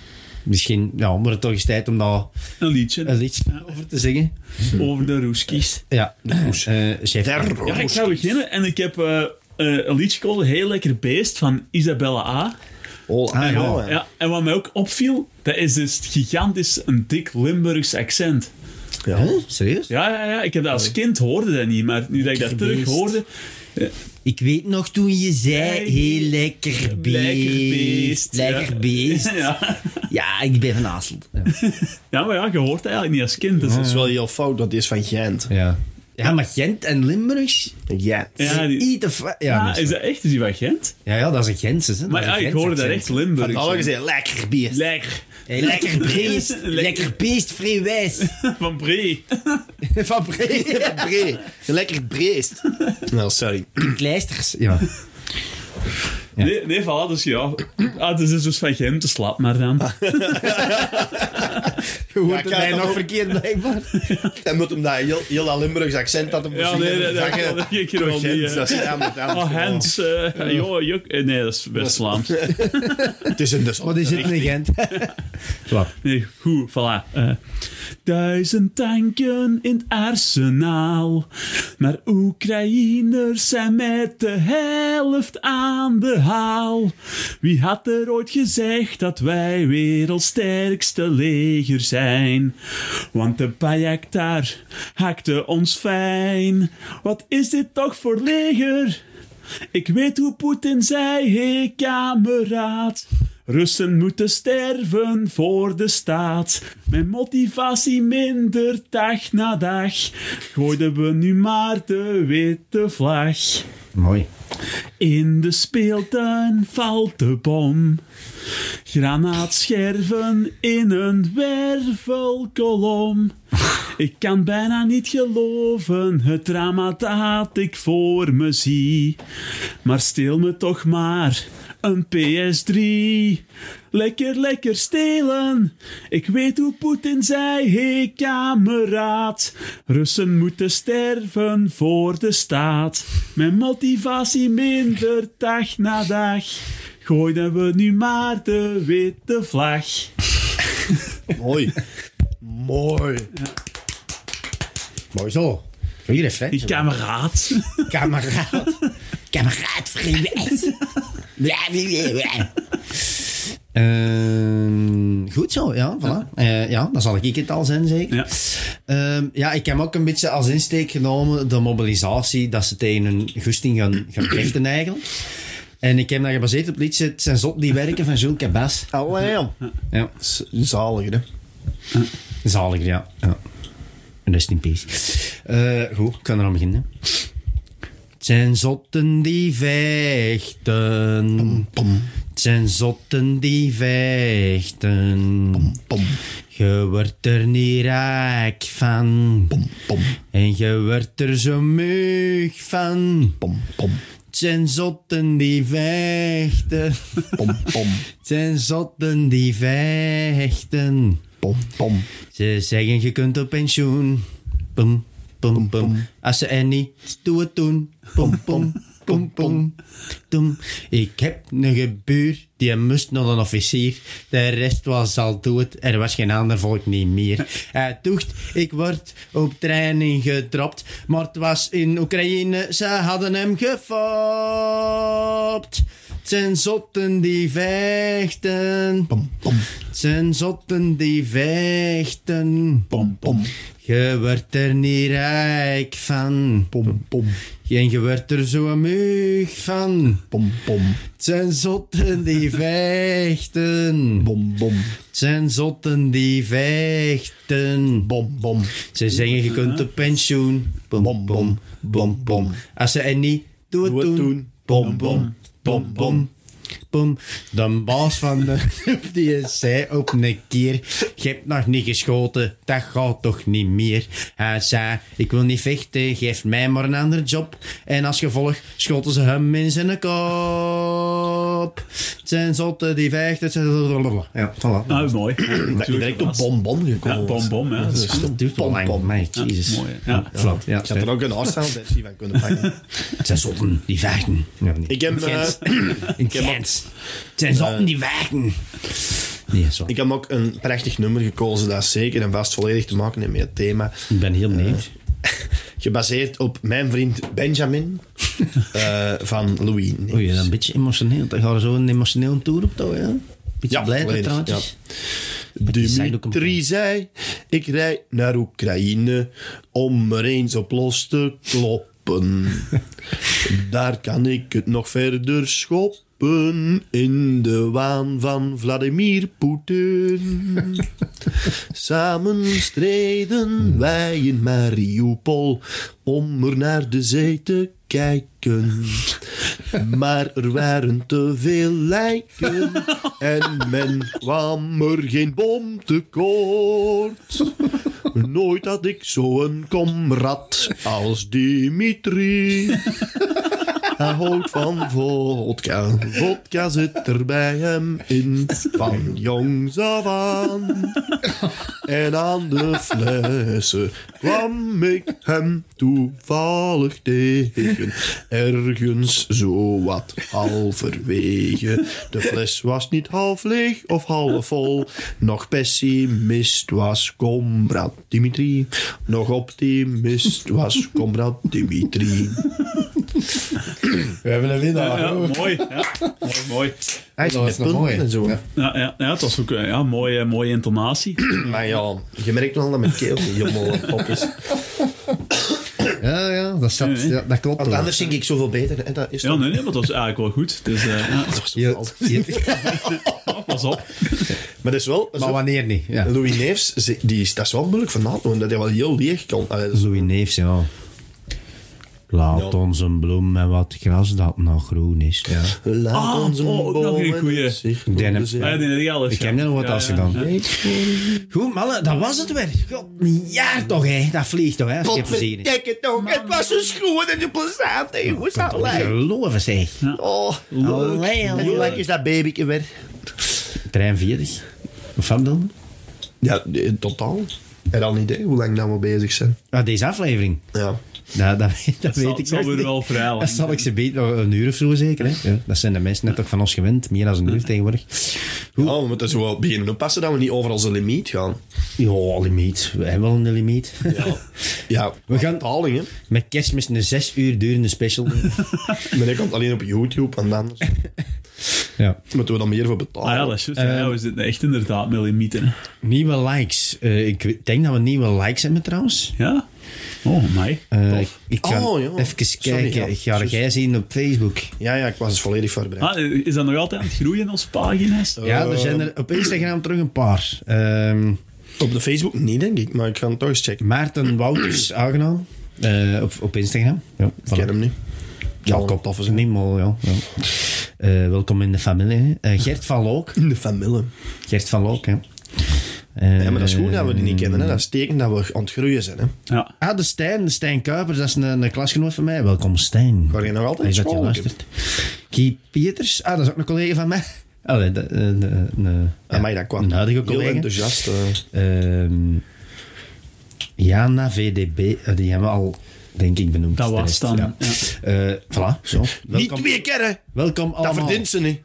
Speaker 1: misschien ja, wordt het toch eens tijd om daar
Speaker 2: een liedje
Speaker 1: een liedje over te zingen.
Speaker 2: over de Roeskies.
Speaker 1: Ja, Eh, chef.
Speaker 2: Ja, ik ga beginnen en ik heb eh, eh, een liedje called Heel Lekker Beest van Isabella A.
Speaker 3: Oh,
Speaker 1: Ah, ja.
Speaker 3: oh, ja.
Speaker 2: Ja, en wat mij ook opviel, dat is dus gigantisch een dik Limburgs accent.
Speaker 1: Huh? Serieus?
Speaker 2: Ja, ja, ja, ik heb dat als kind hoorde dat niet, maar nu dat ik dat
Speaker 1: Oh. Lekker
Speaker 2: terug
Speaker 1: beest. <laughs>
Speaker 2: hoorde...
Speaker 1: Ik weet nog toen je zei, heel lekker beest.
Speaker 2: Lekker beest.
Speaker 1: Lekker
Speaker 2: ja.
Speaker 1: beest.
Speaker 2: <laughs> Ja.
Speaker 1: Ja, ik ben van Aaselt. Ja.
Speaker 2: ja, maar ja, je hoort dat eigenlijk niet als kind.
Speaker 1: Oh,
Speaker 2: Dus
Speaker 3: Het is wel heel fout, dat is van Gent.
Speaker 1: Ja. ja, maar Gent en Limburgs,
Speaker 3: Gent.
Speaker 2: Ja, die-
Speaker 1: Eat the fu- ja,
Speaker 2: ja,
Speaker 1: dat is
Speaker 2: is
Speaker 1: waar.
Speaker 2: dat echt? Is die van Gent?
Speaker 1: ja, ja, dat is een Gentse. Hè?
Speaker 2: Maar ja, ik hoorde dat echt Limburgs.
Speaker 3: Alle gezegd, lekker bier.
Speaker 2: Lekker. <laughs>
Speaker 1: Hey, lekker beest, lekker beest, vrij wijs. <laughs>
Speaker 2: Van Bree.
Speaker 1: Van Bree.
Speaker 2: <laughs>
Speaker 3: Bree. Lekker breest. Nou, <laughs> sorry.
Speaker 1: Kleisters. Ja.
Speaker 2: Nee, nee, voilà, dus ja. Ah, dus is dus van Gent, dus laat maar
Speaker 1: <laughs>
Speaker 2: dan.
Speaker 1: Je hoort
Speaker 3: het mij nog
Speaker 1: verkeerd blijkbaar.
Speaker 3: Dan moet hem dat heel, heel dat Limburgs accent dat hem
Speaker 2: Ja, nee, nee, dat kan ik hier wel niet, hè.
Speaker 3: Dat is ja, maar dat is
Speaker 2: Oh,
Speaker 3: wel-
Speaker 2: Hens. eh, joh, juk. eh, Nee, dat is West-Vlaams.
Speaker 3: Het is een dus.
Speaker 1: <laughs> Wat is het in Gent? Wat?
Speaker 2: Nee, hoe, voilà. eh. duizend tanken in het arsenaal. Maar Oekraïners zijn met de helft aan de haal. Wie had er ooit gezegd dat wij wereldsterkste leger zijn? Want de Bayaktar hakte ons fijn. Wat is dit toch voor leger? Ik weet hoe Poetin zei, hé kameraad. Russen moeten sterven voor de staat. Mijn motivatie minder dag na dag. Gooiden we nu maar de witte vlag.
Speaker 1: Mooi.
Speaker 2: In de speeltuin valt de bom. Granaatscherven in een wervelkolom. Ik kan bijna niet geloven het drama dat ik voor me zie. Maar steel me toch maar een PS3. Lekker, lekker stelen. Ik weet hoe Poetin zei, hé hey, kameraad. Russen moeten sterven voor de staat. Mijn motivatie minder dag na dag. Gooiden we nu maar de witte vlag.
Speaker 3: Mooi. Mooi.
Speaker 1: <laughs> Mooi zo. Goeie <laughs> reflex.
Speaker 2: Die kameraad. <laughs>
Speaker 1: Kameraad. Kameraad, vrij <laughs> wijs. Bla, bla, bla. Ehm, goed zo, ja, voilà. Eh, ja, dan zal ik het al zijn, zeker.
Speaker 2: Ja.
Speaker 1: Ehm, ja, ik heb ook een beetje als insteek genomen de mobilisatie, dat ze tegen hun goesting gaan, gaan vechten eigenlijk. En ik heb dat gebaseerd op het liedje Het zijn zot die werken van Jules Cabas.
Speaker 3: Allee.
Speaker 1: Ja,
Speaker 3: Z- Zalig, hè.
Speaker 1: zaliger, ja. ja. Rest in peace. Eh, goed, ik kan eraan beginnen. Het zijn zotten die vechten. Het zijn zotten die vechten.
Speaker 3: Pom,
Speaker 1: Je wordt er niet raak van.
Speaker 3: pom,
Speaker 1: En je wordt er zo mug van.
Speaker 3: pom, pom,
Speaker 1: Het zijn zotten die vechten. <laughs>
Speaker 3: pom, pom,
Speaker 1: Het zijn zotten die vechten.
Speaker 3: pom, pom.
Speaker 1: Ze zeggen je kunt op pensioen. Pum, pum, pum. Als ze er niet, doe het toen. Pum, pum, pum, pum. Doem. Ik heb een gebuur, die moest nog een officier. De rest was al dood, er was geen ander volk niet <laughs> meer. Hij toegt, ik word op training gedropt. Maar het was in Oekraïne, ze hadden hem gefopt. Het zijn zotten die vechten. Het zijn zotten die vechten.
Speaker 3: Pom, pom,
Speaker 1: Je wordt er niet rijk van.
Speaker 3: pom, pom,
Speaker 1: En je wordt er zo mug van.
Speaker 3: pom, pom,
Speaker 1: Het zijn zotten die <laughs> vechten.
Speaker 3: bom, bom,
Speaker 1: Het zijn zotten die vechten.
Speaker 3: bom, bom.
Speaker 1: Ze zeggen je kunt op pensioen. Bom, bom, bom, bom. Als ze er niet, doe het
Speaker 3: Doe het
Speaker 1: doen.
Speaker 3: doen.
Speaker 1: Bom, bom, bom, bom. Boom. De baas van <laughs> de groep die zei op een keer: Je hebt nog niet geschoten, dat gaat toch niet meer. Hij zei: Ik wil niet vechten, geef mij maar een andere job. En als gevolg schoten ze hem in zijn kop. Het zijn zotten die vechten. Ja, voilà.
Speaker 2: Ah, mooi.
Speaker 3: Dat je direct op bonbon gekomen
Speaker 2: Ja, bonbon, ja. Dat is goed.
Speaker 1: Dat doet wel lang op mij,
Speaker 2: Ja,
Speaker 1: jezus.
Speaker 2: mooi, hè. Ja.
Speaker 1: Flauw. Ja,
Speaker 3: Ik had er ook een Arsenal-versie van kunnen pakken.
Speaker 1: Het zijn zotten die vechten. Ja, niet.
Speaker 3: Ik heb, eh, <clears throat>
Speaker 1: In Gent. Het zijn zotten die vechten. Nee, sorry.
Speaker 3: <laughs> ik heb ook een prachtig nummer gekozen dat zeker en vast volledig te maken heeft met het thema.
Speaker 1: Ik ben heel benieuwd.
Speaker 3: Gebaseerd op mijn vriend <laughs> Benjamin eh, van Louis. Neefs.
Speaker 1: Oei, dat is een beetje emotioneel. Dan gaan we zo een emotioneel tour op toch, ja? Beetje
Speaker 3: Ja,
Speaker 1: blij dat het
Speaker 3: volledig,
Speaker 1: trouwens
Speaker 3: ja.
Speaker 1: is. Die zijn ook een
Speaker 3: Dimitri
Speaker 1: probleem.
Speaker 3: zei, ik rijd naar Oekraïne om er eens op los te
Speaker 1: <laughs>
Speaker 3: kloppen. Daar kan ik het nog verder schoppen in de waan van Vladimir Poetin. Samen strijden wij in Mariupol om er naar de zee te kijken. Maar er waren te veel lijken en men kwam er geen bom tekort. Nooit had ik zo'n komrad als Dimitri. Hij houdt van vodka. Vodka zit er bij hem in. Van jongs af aan. En aan de flessen kwam ik hem toevallig tegen. Ergens zo wat halverwege. De fles was niet half leeg of half vol. Nog pessimist was Comrade Dimitri. Nog optimist was Comrade Dimitri.
Speaker 1: We hebben een winnaar.
Speaker 2: Ja, mooi. Ja. Mooi, mooi.
Speaker 3: Hij is
Speaker 1: Dat was nog
Speaker 3: met punten
Speaker 1: mooi.
Speaker 3: en zo.
Speaker 2: Ja, ja, ja, het was ook eh, ja, mooie, mooie intonatie.
Speaker 3: Maar ja, je merkt wel dat mijn keel niet helemaal op is.
Speaker 1: Ja, ja, dat, zat, ja, dat klopt.
Speaker 3: Want
Speaker 1: wel.
Speaker 3: anders zing ik zoveel beter. En dat is
Speaker 2: Ja, nee, nee, maar dat was eigenlijk wel goed. Dus, eh, ja,
Speaker 3: toch zo
Speaker 1: Je-
Speaker 3: vals.
Speaker 1: je-
Speaker 2: oh, pas op.
Speaker 3: <laughs> Maar dat is wel...
Speaker 1: maar wanneer niet? Ja.
Speaker 3: Louis Neefs, ze- die is, dat is wel moeilijk van na te doen, dat hij wel heel leeg kan. Allee, dat is-
Speaker 1: Louis Neefs, ja. Laat ons een bloem en wat gras dat nog groen is. Ja.
Speaker 3: Laat
Speaker 2: Ah,
Speaker 3: ons een
Speaker 2: oh, ook nog een
Speaker 3: boom en
Speaker 2: goeie.
Speaker 3: het zicht op
Speaker 1: Den-
Speaker 3: de zee.
Speaker 2: Ah, ja, die had ik alles,
Speaker 1: Ik
Speaker 2: ja.
Speaker 1: heb net nog wat
Speaker 2: Ja,
Speaker 1: als
Speaker 2: ja.
Speaker 1: gedaan. Goed, mannen, dat was het weer. God, een jaar toch, hè. Dat vliegt toch, hè. Als je plezier in.
Speaker 3: Potverdikke toch, het was een schoen en je plezant, hè, jongens. Allee.
Speaker 1: Geloven, zeg.
Speaker 3: Oh,
Speaker 1: Allee,
Speaker 3: en
Speaker 1: allee.
Speaker 3: hoe lang is dat babyke weer?
Speaker 1: Trein 40. Of van dan?
Speaker 3: Ja, in totaal. En al een idee hoe lang dat we bezig zijn.
Speaker 1: Ah, deze aflevering.
Speaker 3: Ja.
Speaker 1: Nou, dat, weet- dat
Speaker 2: Dat
Speaker 1: weet
Speaker 2: zal-
Speaker 1: ik
Speaker 2: zal
Speaker 1: nog
Speaker 2: weer
Speaker 1: niet.
Speaker 2: wel vrij lang
Speaker 1: Dat zal ik ze beter nog een uur of zo zeker. Hè? Ja, dat zijn de mensen net ook van ons gewend. Meer dan een uur tegenwoordig. Goed.
Speaker 3: Oh, we moeten zo wel beginnen oppassen dat we niet over onze limiet gaan.
Speaker 1: Ja, limiet. We hebben wel een limiet.
Speaker 3: Ja,
Speaker 1: We gaan-
Speaker 3: betaling, hè.
Speaker 1: Met kerstmis een zes uur durende
Speaker 2: <laughs>
Speaker 1: special.
Speaker 3: Maar dat komt alleen op YouTube en dan
Speaker 1: ja.
Speaker 3: moeten we dan meer voor betalen.
Speaker 2: Ah ja, dat is juist.
Speaker 1: Ehm,
Speaker 2: ja, we zitten echt inderdaad met limieten. hè.
Speaker 1: Nieuwe likes. Eh, ik denk dat we nieuwe likes hebben trouwens.
Speaker 2: Ja? Oh, mij.
Speaker 1: Eh, ik ga
Speaker 3: Oh, ja.
Speaker 1: even kijken.
Speaker 3: Sorry, ja.
Speaker 1: ik ga jij zien op Facebook.
Speaker 3: ja, ja, ik was dus volledig voorbereid.
Speaker 2: Ah, is dat nog altijd aan het groeien, onze pagina's?
Speaker 1: Ja,
Speaker 3: Eh.
Speaker 1: er zijn er op Instagram terug een paar. Ehm
Speaker 3: Op de Facebook niet, denk ik, maar ik ga het toch eens checken.
Speaker 1: Maarten
Speaker 3: <clears throat>
Speaker 1: Wouters aangenaam. Eh, op, op Instagram. Ja, voilà.
Speaker 3: Ik ken hem niet.
Speaker 1: Ja,
Speaker 3: Zal
Speaker 1: klopt.
Speaker 3: een toffe
Speaker 1: Dat
Speaker 3: zijn.
Speaker 1: is niet mal, ja. ja. Eh, welkom in de familie. hè. Eh, Gert van Look.
Speaker 3: In de familie.
Speaker 1: Gert van Look, hè. Eh,
Speaker 3: Ja, maar dat is goed dat we die niet kennen. Hè. Dat is teken dat we aan het groeien zijn. Hè.
Speaker 2: Ja.
Speaker 1: Ah, de Stijn. De Stijn Kuipers, dat is een, een klasgenoot van mij. Welkom, Stijn.
Speaker 3: Waar je nog altijd
Speaker 1: Hij is
Speaker 3: in
Speaker 1: dat je
Speaker 3: school
Speaker 1: luistert. Guy Pieters. Ah, dat is ook een collega van mij. Allee, de, de, de, de-
Speaker 3: Ja, maar dat kwam
Speaker 1: Een huidige
Speaker 3: heel
Speaker 1: collega.
Speaker 3: enthousiast. eh.
Speaker 1: Ehm, Jana VDB. eh, die hebben we al, denk ik, benoemd.
Speaker 2: Dat was
Speaker 1: terecht,
Speaker 2: dan,
Speaker 1: Ja. Eh, voilà, zo.
Speaker 3: niet
Speaker 1: Welkom,
Speaker 3: twee keer, hè.
Speaker 1: welkom allemaal.
Speaker 3: Dat verdient ze niet.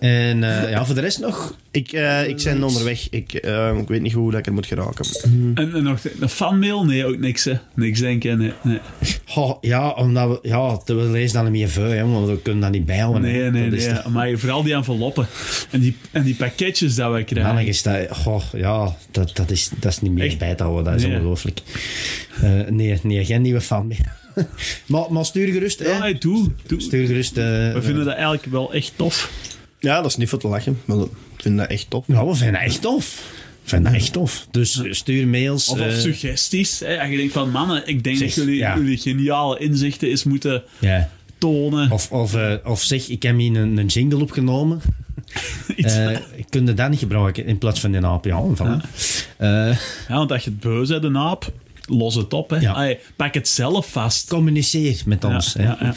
Speaker 1: En eh, ja, voor de rest nog...
Speaker 3: Ik, eh, ik ben onderweg. Ik, eh, ik weet niet hoe dat ik er moet geraken.
Speaker 2: En, en nog een fanmail? Nee, ook niks, hè. Niks denken, nee. Nee,
Speaker 1: Goh, ja, omdat we, ja, te- we lezen dan niet meer veel, hè, want we kunnen dat niet bijhouden. hè.
Speaker 2: nee, nee.
Speaker 1: dat
Speaker 2: nee,
Speaker 1: is toch-
Speaker 2: Maar vooral die enveloppen. En die, en die pakketjes dat wij krijgen.
Speaker 1: Mannen is dat, goh, ja, dat, dat, is, dat is niet meer
Speaker 2: Echt?
Speaker 1: bij te houden, dat is
Speaker 2: Nee.
Speaker 1: ongelooflijk. Eh, nee, nee, geen nieuwe fan meer. <laughs> maar, maar stuur gerust, hè.
Speaker 2: Ja, hey, Ah, doe, doe.
Speaker 1: Stuur gerust. eh,
Speaker 2: We vinden dat eigenlijk wel echt tof.
Speaker 3: Ja, dat is niet voor te lachen. Maar ik vind dat echt top.
Speaker 1: Ja, we vinden dat echt tof. We vinden dat echt tof. Dus stuur mails.
Speaker 2: Of, of
Speaker 1: eh,
Speaker 2: suggesties. Hè. Als je denkt van, mannen, ik denk
Speaker 1: zeg,
Speaker 2: dat jullie,
Speaker 1: ja.
Speaker 2: jullie geniale inzichten eens moeten
Speaker 1: ja.
Speaker 2: tonen.
Speaker 1: Of, of, eh, of zeg, ik heb hier een, een jingle opgenomen.
Speaker 2: <laughs> Iets.
Speaker 1: Eh, kun je dat niet gebruiken in plaats van een aap? Ja, voilà. Eh,
Speaker 2: Ja, want als je het beu bent, een aap, los het op. Hè.
Speaker 1: Ja.
Speaker 2: Allee, pak het zelf vast.
Speaker 1: communiceer met
Speaker 2: Ja,
Speaker 1: ons. hè.
Speaker 2: ja, ja.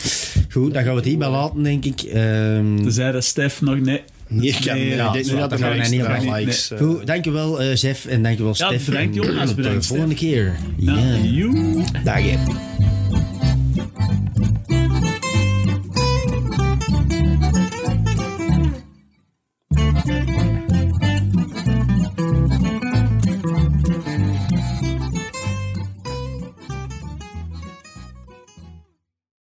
Speaker 1: Goed, dan gaan we het hierbij laten, denk ik. Ehm,
Speaker 2: Zei de Stef nog nee.
Speaker 3: Nee, ik kan
Speaker 2: Nee,
Speaker 3: nee,
Speaker 2: ja,
Speaker 3: ik denk
Speaker 1: zo,
Speaker 3: niet dat
Speaker 1: dat
Speaker 3: er
Speaker 1: gaan we
Speaker 3: nog
Speaker 1: niet
Speaker 3: extra
Speaker 2: opnemen.
Speaker 3: likes... eh,
Speaker 1: Goed, dankjewel eh Jeff en dankjewel
Speaker 2: Ja,
Speaker 1: Stefan.
Speaker 2: bedankt, jongens.
Speaker 1: Tot de
Speaker 2: Bedankt,
Speaker 1: volgende keer.
Speaker 2: Ja.
Speaker 1: Ja.
Speaker 2: joe.
Speaker 3: dag, hè.